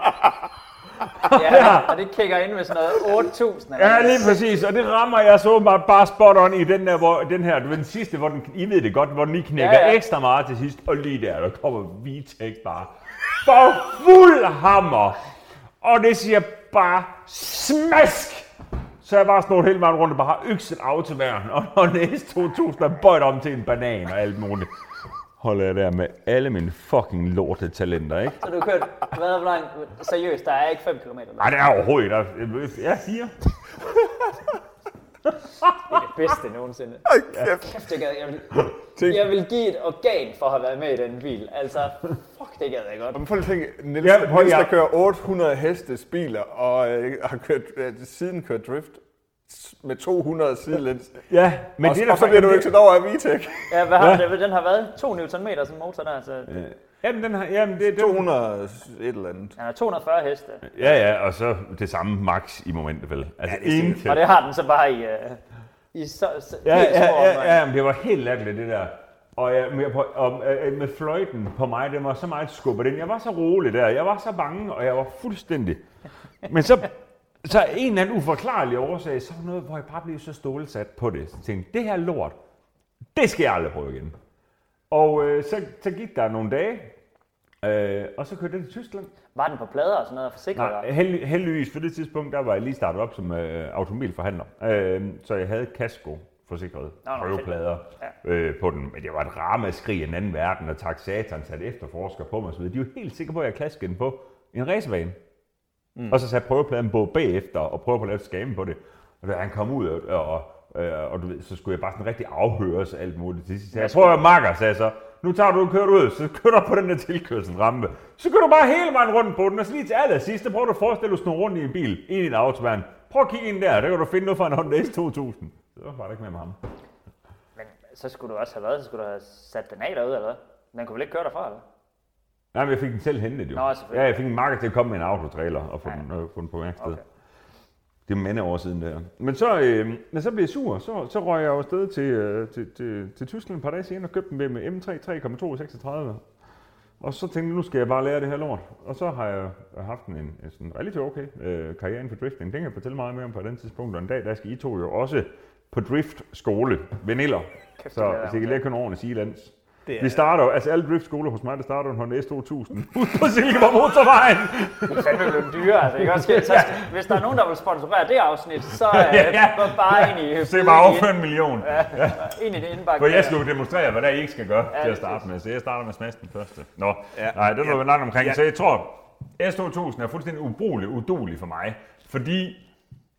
Speaker 3: Ja, og det kigger ind med sådan noget 8.000. eller
Speaker 1: Ja,
Speaker 3: noget.
Speaker 1: lige præcis. Og det rammer jeg så åbenbart bare spot on i den der, hvor, den her, du ved, den sidste, hvor den, I ved det godt, hvor den lige knækker
Speaker 3: Ja,
Speaker 1: ja,
Speaker 3: ja.
Speaker 1: ja. ekstra meget til sidst. Og lige der, der kommer VTEC bare for fuld hammer. Og det siger bare smask. Så jeg bare snod hele vejen rundt og bare har økset af til væren. Og når næste 2000 er bøjt om til en banan og alt muligt. Holder jeg der med alle mine fucking lorte talenter, ikke?
Speaker 3: Så du har kørt, hvad er hvor langt? Seriøst, der er ikke 5 km. Det
Speaker 1: Nej, det er overhovedet ikke. Der- Jeg siger.
Speaker 3: er det bedste nogensinde. Kæft, det gad jeg. vil- Jeg vil give et organ for at have været med i den bil. Altså, fuck, det gad jeg godt.
Speaker 2: Men prøv lige at tænke, Niels,
Speaker 1: Ja,
Speaker 2: ja,
Speaker 1: prøv
Speaker 2: Niels
Speaker 1: lige
Speaker 2: der
Speaker 1: at-
Speaker 2: kører 800 hestes biler, og øh, har kørt, øh, siden kørt drift s- med 200 sidelæns.
Speaker 1: Ja, men
Speaker 2: og,
Speaker 1: det
Speaker 2: det
Speaker 1: der
Speaker 2: og så bliver du ikke så over af VTEC.
Speaker 3: Ja, hvad har det? Den har været 2 Nm som motor der, så
Speaker 1: Jamen, den har, jamen, det, den,
Speaker 2: 200 et eller andet.
Speaker 3: den har 240 heste.
Speaker 1: Ja, ja, og så det samme max i momentet, vel? Altså, ja, det intet.
Speaker 3: Og det har den så bare i, øh, i så, så,
Speaker 1: Ja,
Speaker 3: helt
Speaker 1: ja,
Speaker 3: små
Speaker 1: ja,
Speaker 3: omgange.
Speaker 1: ja, men det var helt latterligt, det der. Og, jeg, med, på, og øh, med fløjten på mig, det var så meget skubbet ind. Jeg var så rolig der, jeg var så bange, og jeg var fuldstændig... Men så, så af en eller anden uforklarlig årsag, så var noget, hvor jeg bare blev så stålsat på det. Så tænkte jeg, det her lort, det skal jeg aldrig prøve igen. Og øh, så, så gik der nogle dage, øh, og så kørte jeg til Tyskland.
Speaker 3: Var den på plader og sådan noget og forsikret?
Speaker 1: Nej,
Speaker 3: dig?
Speaker 1: held, heldigvis for det tidspunkt, der var jeg lige startet op som øh, automobilforhandler. Øh, så jeg havde kasko forsikret
Speaker 3: nå, fedt.
Speaker 1: prøveplader øh, på den. Men det var et ramaskrig i en anden verden, og taxatoren satte efterforsker på mig. og Så videre. de var helt sikre på, at jeg klaskede den på en racerbane. Mm. Og så satte prøvepladen på bagefter og prøvede på at lave et skamme på det. Og da han kom ud, og, og, og, og du ved, så skulle jeg bare sådan rigtig afhøres og alt muligt. Til sidst sagde jeg, prøv at høre, makker, sagde jeg så. Nu tager du og kører ud, så kører du på den der tilkørselsrampe. Så kører du bare hele vejen rundt på den, og så lige til allersidst, så prøver du at forestille dig at snurre rundt i en bil, ind i en autoværn. Prøv at kigge ind der, der kan du finde noget fra en Honda S2000. Så var det ikke med, med ham.
Speaker 3: Men så skulle du også have været, så skulle du have sat den af derude, eller hvad? Den kunne vel ikke køre derfra, eller hvad?
Speaker 4: Nej, men jeg fik den selv hentet jo.
Speaker 3: Nå, selvfølgelig.
Speaker 4: ja, jeg fik en marker til at komme med en autotrailer og få den, øh, få den på værksted.
Speaker 3: Okay.
Speaker 4: Okay. Det er mænd år siden der. Men så, øh, men så blev jeg sur, så, så røg jeg jo afsted til, øh, til, til, til Tyskland et par dage senere og købte den ved med M3 3,236. Og så tænkte jeg, nu skal jeg bare lære det her lort. Og så har jeg haft en, en sådan relativt okay øh, karriere inden for drifting. Den kan jeg fortælle meget mere om på et andet tidspunkt. Og en dag, der skal I to jo også på driftskole, veniller.
Speaker 3: Kæft, det
Speaker 4: så
Speaker 3: er der,
Speaker 4: hvis I kan lære at køre ordentligt Sealands.
Speaker 2: Det er-
Speaker 4: Vi starter jo, altså alle driftskoler hos mig, der starter jo en Honda S2000 ude på Silkeborg Motorvejen.
Speaker 3: Det er fandme blevet dyrere, altså. Ikke? Også, så, hvis der er nogen, der vil sponsorere det afsnit, så øh,
Speaker 1: Ja, ja.
Speaker 3: gå bare ind i,
Speaker 1: Se bare overføre en million.
Speaker 3: ind i det indbakke.
Speaker 1: For jeg skal jo demonstrere, hvad der I ikke skal gøre til at
Speaker 3: det
Speaker 1: starte med. Så jeg starter med smasken først. Nå,
Speaker 2: Ja.
Speaker 1: ja. nej, det var
Speaker 2: Ja.
Speaker 1: ja. langt omkring.
Speaker 2: Ja.
Speaker 1: Ja. Så jeg tror, S2000 er fuldstændig ubrugelig, udulig for mig. Fordi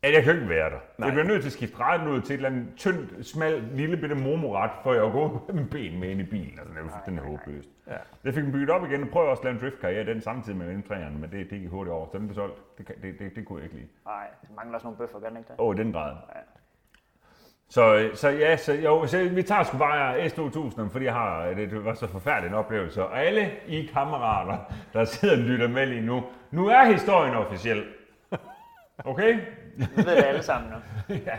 Speaker 1: at jeg kan ikke være der. Nej. Jeg bliver nødt til at skifte retten ud til et eller andet tyndt, smalt, lille bitte mormoret, for jeg går med mine ben med ind i bilen. Altså, det er fuldstændig håbløst. Ja. Jeg fik den bygget op igen og prøvede også at lave en driftkarriere den samtidig med M3'eren, men det, det gik hurtigt over. Så den blev solgt. Det, kan- det, det, det kunne jeg ikke lide.
Speaker 3: Nej, der mangler også nogle bøffer, gør den ikke det?
Speaker 1: Åh, i den grad. Så, så ja, så, jo, så vi tager sgu bare S2000, fordi jeg har, øh, det var så forfærdelig en oplevelse. Og alle I kammerater, der sidder og lytter med lige nu, nu er historien officiel. Okay?
Speaker 3: Vi ved det alle sammen nu.
Speaker 1: ja.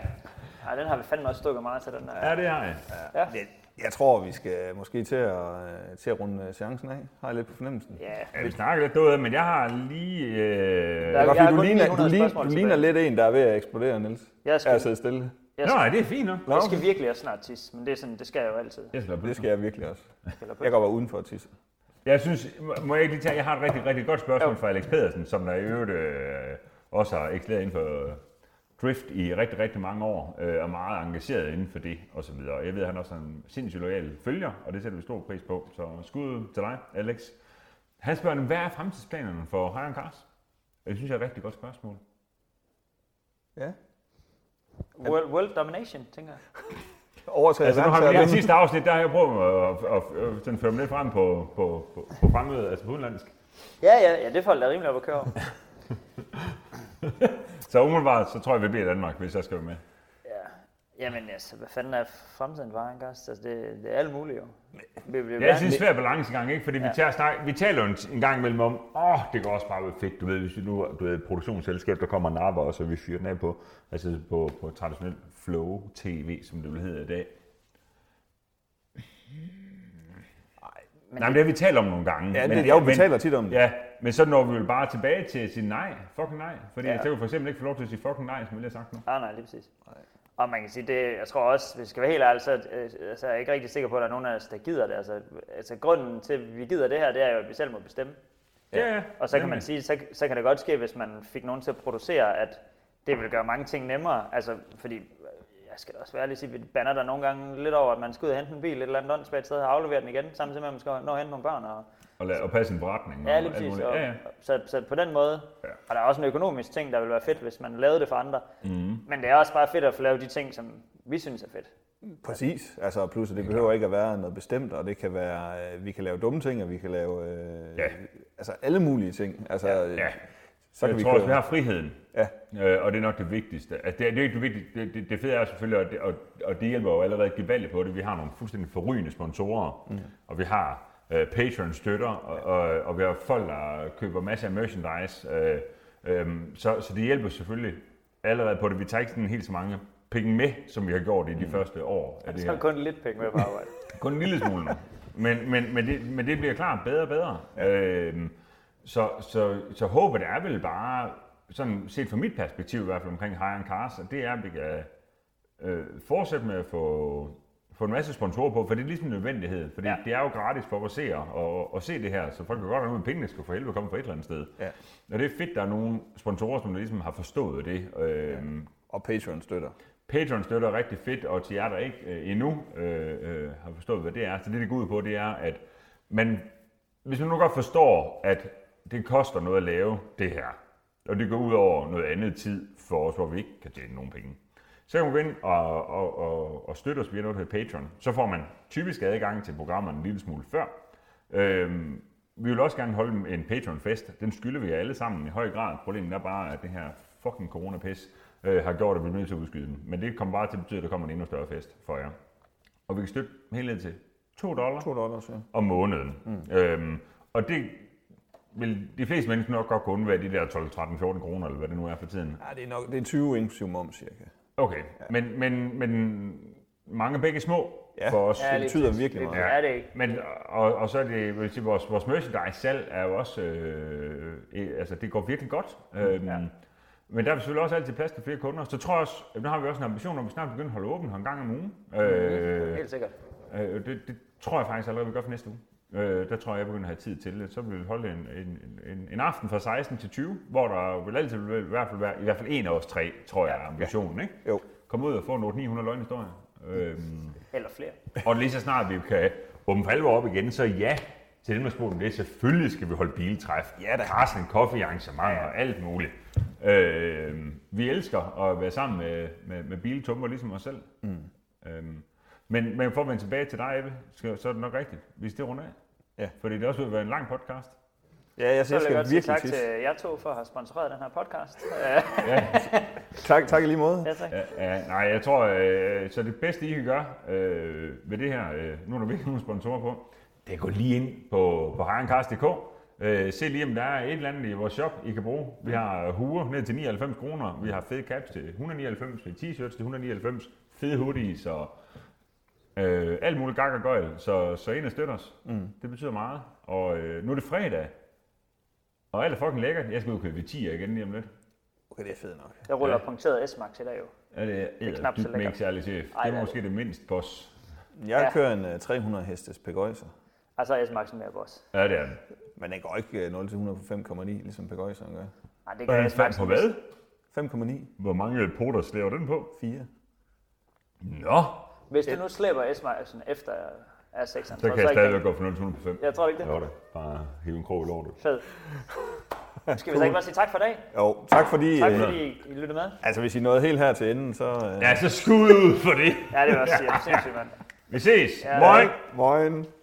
Speaker 3: Ej, den har vi fandme også stukket meget til, den der.
Speaker 1: ja, det har jeg.
Speaker 2: Jeg, jeg tror, vi skal måske til at, øh, til at runde øh, seancen af. Har jeg lidt på fornemmelsen?
Speaker 3: Ja,
Speaker 1: Ja, vi snakker lidt derude, men jeg har lige... Øh...
Speaker 3: Der-
Speaker 1: Ja.
Speaker 2: Jeg,
Speaker 3: Jeg
Speaker 2: jeg
Speaker 3: har
Speaker 2: du,
Speaker 3: kun
Speaker 2: ligner,
Speaker 3: 900
Speaker 2: du, ligner,
Speaker 3: spørgsmål
Speaker 2: du ligner lidt en, der er ved at eksplodere, Niels.
Speaker 3: Jeg skal-
Speaker 2: Jeg sidder stille.
Speaker 3: jeg,
Speaker 1: Nå,
Speaker 3: skal,
Speaker 1: nej, det er fint nok.
Speaker 2: Nå,
Speaker 3: jeg skal virkelig også snart tisse, men det er sådan, det skal jeg jo altid.
Speaker 1: Jeg, slår på.
Speaker 2: det skal jeg virkelig også.
Speaker 3: Eller på.
Speaker 2: Jeg går bare udenfor at tisse.
Speaker 1: jeg synes, må- må jeg ikke lige tage, jeg har et rigtig, rigtig godt spørgsmål fra Alex Pedersen, som der i øvrigt øh, også har eksleret inden for øh, drift i rigtig, rigtig mange år, øh, og meget engageret inden for det, og så videre. Jeg ved, at han også er en sindssygt lojal følger, og det sætter vi stor pris på, så skud til dig, Alex. Han spørger, hvad er fremtidsplanerne for Hiron Cars? Det synes jeg er et rigtig godt spørgsmål.
Speaker 2: Ja.
Speaker 3: World, world domination, tænker jeg.
Speaker 2: Overtager
Speaker 1: Altså, nu har vi lige i
Speaker 2: verdensherredømmet.
Speaker 1: sidste afsnit, der har jeg prøvet at, at, at, at sådan føre dem lidt frem på, på, på, på fremmødet, altså på udenlandsk.
Speaker 3: Ja, ja, ja, det faldt da rimelig op at køre over.
Speaker 1: Så umiddelbart, så tror jeg, vi bliver i Danmark, hvis jeg skal være med.
Speaker 3: Ja. Jamen altså, hvad fanden er fremtiden for Hangast? Altså, det, det er alt muligt jo. Vi vil jo
Speaker 1: Ja, jeg
Speaker 3: gerne-
Speaker 1: synes, det er en svær balancegang, ikke? Fordi ja. vi, tager snak, vi taler jo en, en gang imellem om, åh, oh, det går også bare være fedt, du ved, hvis vi nu du ved, et produktionsselskab, der kommer en arbejde, og så vi fyrer den af på, altså på, på traditionel flow tv, som det vil hedde i dag. Men Nej, men det har vi talt om nogle gange.
Speaker 2: Ja,
Speaker 1: men,
Speaker 2: det, jo, vi
Speaker 1: men-
Speaker 2: taler tit om det.
Speaker 1: Ja, men så når vi vel bare tilbage til at sige nej, fucking nej. Fordi ja.
Speaker 3: Ja.
Speaker 1: jeg kan jo for eksempel ikke få lov til at sige fucking nej, som jeg lige har sagt nu.
Speaker 3: Ah, Nej, nej, lige præcis. Og man kan sige, det, jeg tror også, hvis vi skal være helt ærlig, så, øh, så er jeg ikke rigtig sikker på, at der er nogen af os, der gider det. Altså, altså grunden til, at vi gider det her, det er jo, at vi selv må bestemme.
Speaker 1: Ja, ja.
Speaker 3: Og så kan man
Speaker 1: nemlig.
Speaker 3: sige, så, så kan det godt ske, hvis man fik nogen til at producere, at det ville gøre mange ting nemmere. Altså, fordi, øh, jeg skal da også være ærlig og sige, vi banner der nogle gange lidt over, at man skal ud og hente en bil et eller andet åndssvagt sted og aflevere den igen, samtidig med, at man skal nå at hente nogle børn. Og,
Speaker 1: Og, la- og passe en forretning.
Speaker 3: ja,
Speaker 1: og
Speaker 3: lige
Speaker 1: alt
Speaker 3: præcis.
Speaker 1: muligt.
Speaker 3: Og,
Speaker 1: Ja, ja.
Speaker 3: Så, så på den måde,
Speaker 1: Ja.
Speaker 3: og der er også en økonomisk ting, der ville være fedt, hvis man lavede det for andre.
Speaker 1: Mhm.
Speaker 3: Mm. Men det er også bare fedt at få lavet de ting, som vi synes er fedt.
Speaker 2: Præcis. Altså, plus, at det behøver ikke at være noget bestemt, og det kan være, øh, vi kan lave dumme ting, og vi kan lave øh,
Speaker 1: Ja.
Speaker 2: altså, alle mulige ting. Altså,
Speaker 1: ja.
Speaker 2: Så kan
Speaker 1: jeg
Speaker 2: vi
Speaker 1: tror
Speaker 2: køre.
Speaker 1: også, vi har friheden.
Speaker 2: Ja.
Speaker 1: Øh, og det er nok det vigtigste. Altså, det, er- det, er ikke det, vigtigste. Det, det, det fede er selvfølgelig, og det, og, og det hjælper jo allerede gevaldigt på det, vi har nogle fuldstændig forrygende sponsorer, mm. og vi har øh, Patreon-støtter, og, og, og vi har folk, der køber masser af merchandise. Øh, øh, så, så det hjælper selvfølgelig allerede på det. Vi tager ikke sådan helt så mange penge med, som vi har gjort i de mm. første år af det
Speaker 3: Så er
Speaker 1: her.
Speaker 3: der kun lidt penge med på arbejde.
Speaker 1: Kun en lille smule nu. Men, men, men, det, men det bliver klart bedre og bedre. Øhm, så, så, så håbet er vel bare, sådan set fra mit perspektiv i hvert fald omkring Hire Cars, at det er, at vi kan øh, fortsætte med at få, få en masse sponsorer på, for det er ligesom en nødvendighed. For ja. det er jo gratis for os at se, og, og se det her, så folk kan godt have med pengene skal for helvede komme fra et eller andet sted.
Speaker 2: Ja.
Speaker 1: Og det er fedt, der er nogle sponsorer, som ligesom har forstået det. Øhm, ja.
Speaker 2: Og Patreon støtter.
Speaker 1: Patreon støtter er rigtig fedt, og til jer, der ikke øh, endnu øh, øh, har forstået, hvad det er, så det, det går ud på, det er, at man, hvis man nu godt forstår, at det koster noget at lave det her, og det går ud over noget andet tid for os, hvor vi ikke kan tjene nogen penge, så kan man gå ind og, og, og, og støtte os via noget, der hedder Patreon. Så får man typisk adgang til programmerne en lille smule før. Øhm, vi vil også gerne holde en Patreon-fest. Den skylder vi jer alle sammen i høj grad. Problemet er bare, at det her fucking coronapis øh, har gjort, at vi bliver nødt til at udskyde den. Men det kommer bare til at betyde, at der kommer en endnu større fest for jer. og vi kan støtte helt ned til 2 dollar
Speaker 2: 2 dollars, ja.
Speaker 1: om måneden. Mm. Øhm, og det vil de fleste mennesker nok godt kunne undvære de der 12, 13, 14 kroner, eller hvad det nu er for tiden.
Speaker 2: Ja, det er, nok, det er 20 inklusive moms, cirka.
Speaker 1: Okay, ja. men, men, men mange er begge små
Speaker 2: Ja.
Speaker 1: ja. for os.
Speaker 2: Ja, det betyder virkelig meget.
Speaker 3: Ja. Det er det ikke.
Speaker 1: Men, og, og så er det, vil jeg sige, vores, vores merchandise-salg er jo også, øh, øh, altså det går virkelig godt. Øhm, ja. Men der er selvfølgelig også altid plads til flere kunder. Så tror jeg også, nu har vi også en ambition om, at vi snart begynder at holde åbent her en gang om ugen. Øh,
Speaker 3: Helt sikkert.
Speaker 1: øh, det, det tror jeg faktisk allerede, vi gør for næste uge. Øh, der tror jeg, jeg begynder at have tid til det. Så vil vi holde en, en, en, en aften fra 16 til 20, hvor der vil altid vil i hvert fald være, i hvert fald en af os tre, tror jeg, er ambitionen. Ikke?
Speaker 2: Jo.
Speaker 1: Kom ud og få nogle 900 løgnhistorier. Øhm,
Speaker 3: Eller flere.
Speaker 1: og lige så snart vi kan åbne for alvor op igen, så ja, til dem, der spurgte om det, selvfølgelig skal vi holde biltræf. Ja da. Carsten, kaffe, arrangementer og alt muligt. Øh, vi elsker at være sammen med, med, med biltumper ligesom os selv. Mm. Øh, men, men for at vende tilbage til dig, Ebbe, så så er det nok rigtigt, hvis det runder af.
Speaker 2: Ja.
Speaker 1: Fordi det også vil være en lang podcast.
Speaker 2: Ja, jeg,
Speaker 3: Så
Speaker 2: jeg
Speaker 3: vil jeg
Speaker 2: skal
Speaker 3: godt sige
Speaker 2: virkelig
Speaker 3: tak
Speaker 2: tisse.
Speaker 3: til jer to for at have sponsoreret den her podcast. Øh,
Speaker 2: Tak, tak i lige måde.
Speaker 3: ja, tak.
Speaker 1: Ja, nej, jeg tror, øh, så det bedste, I kan gøre øh, ved det her, øh, nu er der virkelig nogle sponsorer på, det er at gå lige ind på, på harencast.dk. Øh, se lige, om der er et eller andet i vores shop, I kan bruge. Vi har huer ned til 99 kroner, vi har fede caps til 199, t-shirts til 199, fede hoodies og øh, alt muligt gak og gøjl. Så, så ind og støt os. Mm. Det betyder meget. Og øh, nu er det fredag, og alt er fucking lækkert. Jeg skal ud og købe 10 igen lige om lidt.
Speaker 2: Okay, det er fedt nok.
Speaker 3: Jeg ruller punkteret S-Max i dag jo.
Speaker 1: Ja, det er, det
Speaker 3: knap så lækkert.
Speaker 1: Ikke særlig chef.
Speaker 3: Ej,
Speaker 1: det
Speaker 3: det
Speaker 1: er
Speaker 3: er
Speaker 1: måske det mindst boss.
Speaker 2: Jeg
Speaker 3: Ja.
Speaker 2: kører en øh, 300 hestes Pegøjser,
Speaker 3: Og så er Altså, S-Maxen med boss.
Speaker 1: Ja, det er den.
Speaker 2: men den går ikke øh, 0-100 på 5,9, ligesom Pegøjseren gør.
Speaker 3: Nej, det
Speaker 1: Og
Speaker 3: gør
Speaker 1: han fandt
Speaker 3: S-Maxen.
Speaker 1: Øh, på hvad?
Speaker 2: 5,9,
Speaker 1: Hvor mange poter slæver den på?
Speaker 2: 4.
Speaker 1: Nå,
Speaker 3: Hvis du nu slæber S-Maxen efter R6,
Speaker 1: så kan jeg stadigvæk gå for 0 på 5.
Speaker 3: Jeg tror ikke det.
Speaker 1: Jo da, bare hive en krog i lortet.
Speaker 3: Fed. Skal vi så ikke bare sige tak for i dag?
Speaker 2: Jo, tak fordi...
Speaker 3: Tak
Speaker 2: øh,
Speaker 3: fordi I lyttede med.
Speaker 2: Altså, hvis I nåede helt her til enden, så... Øh,
Speaker 1: Ja, så skud ud for det.
Speaker 3: Ja, det var også sindssygt, mand.
Speaker 1: Vi ses.
Speaker 3: Ja.
Speaker 1: Moin.
Speaker 2: Moin!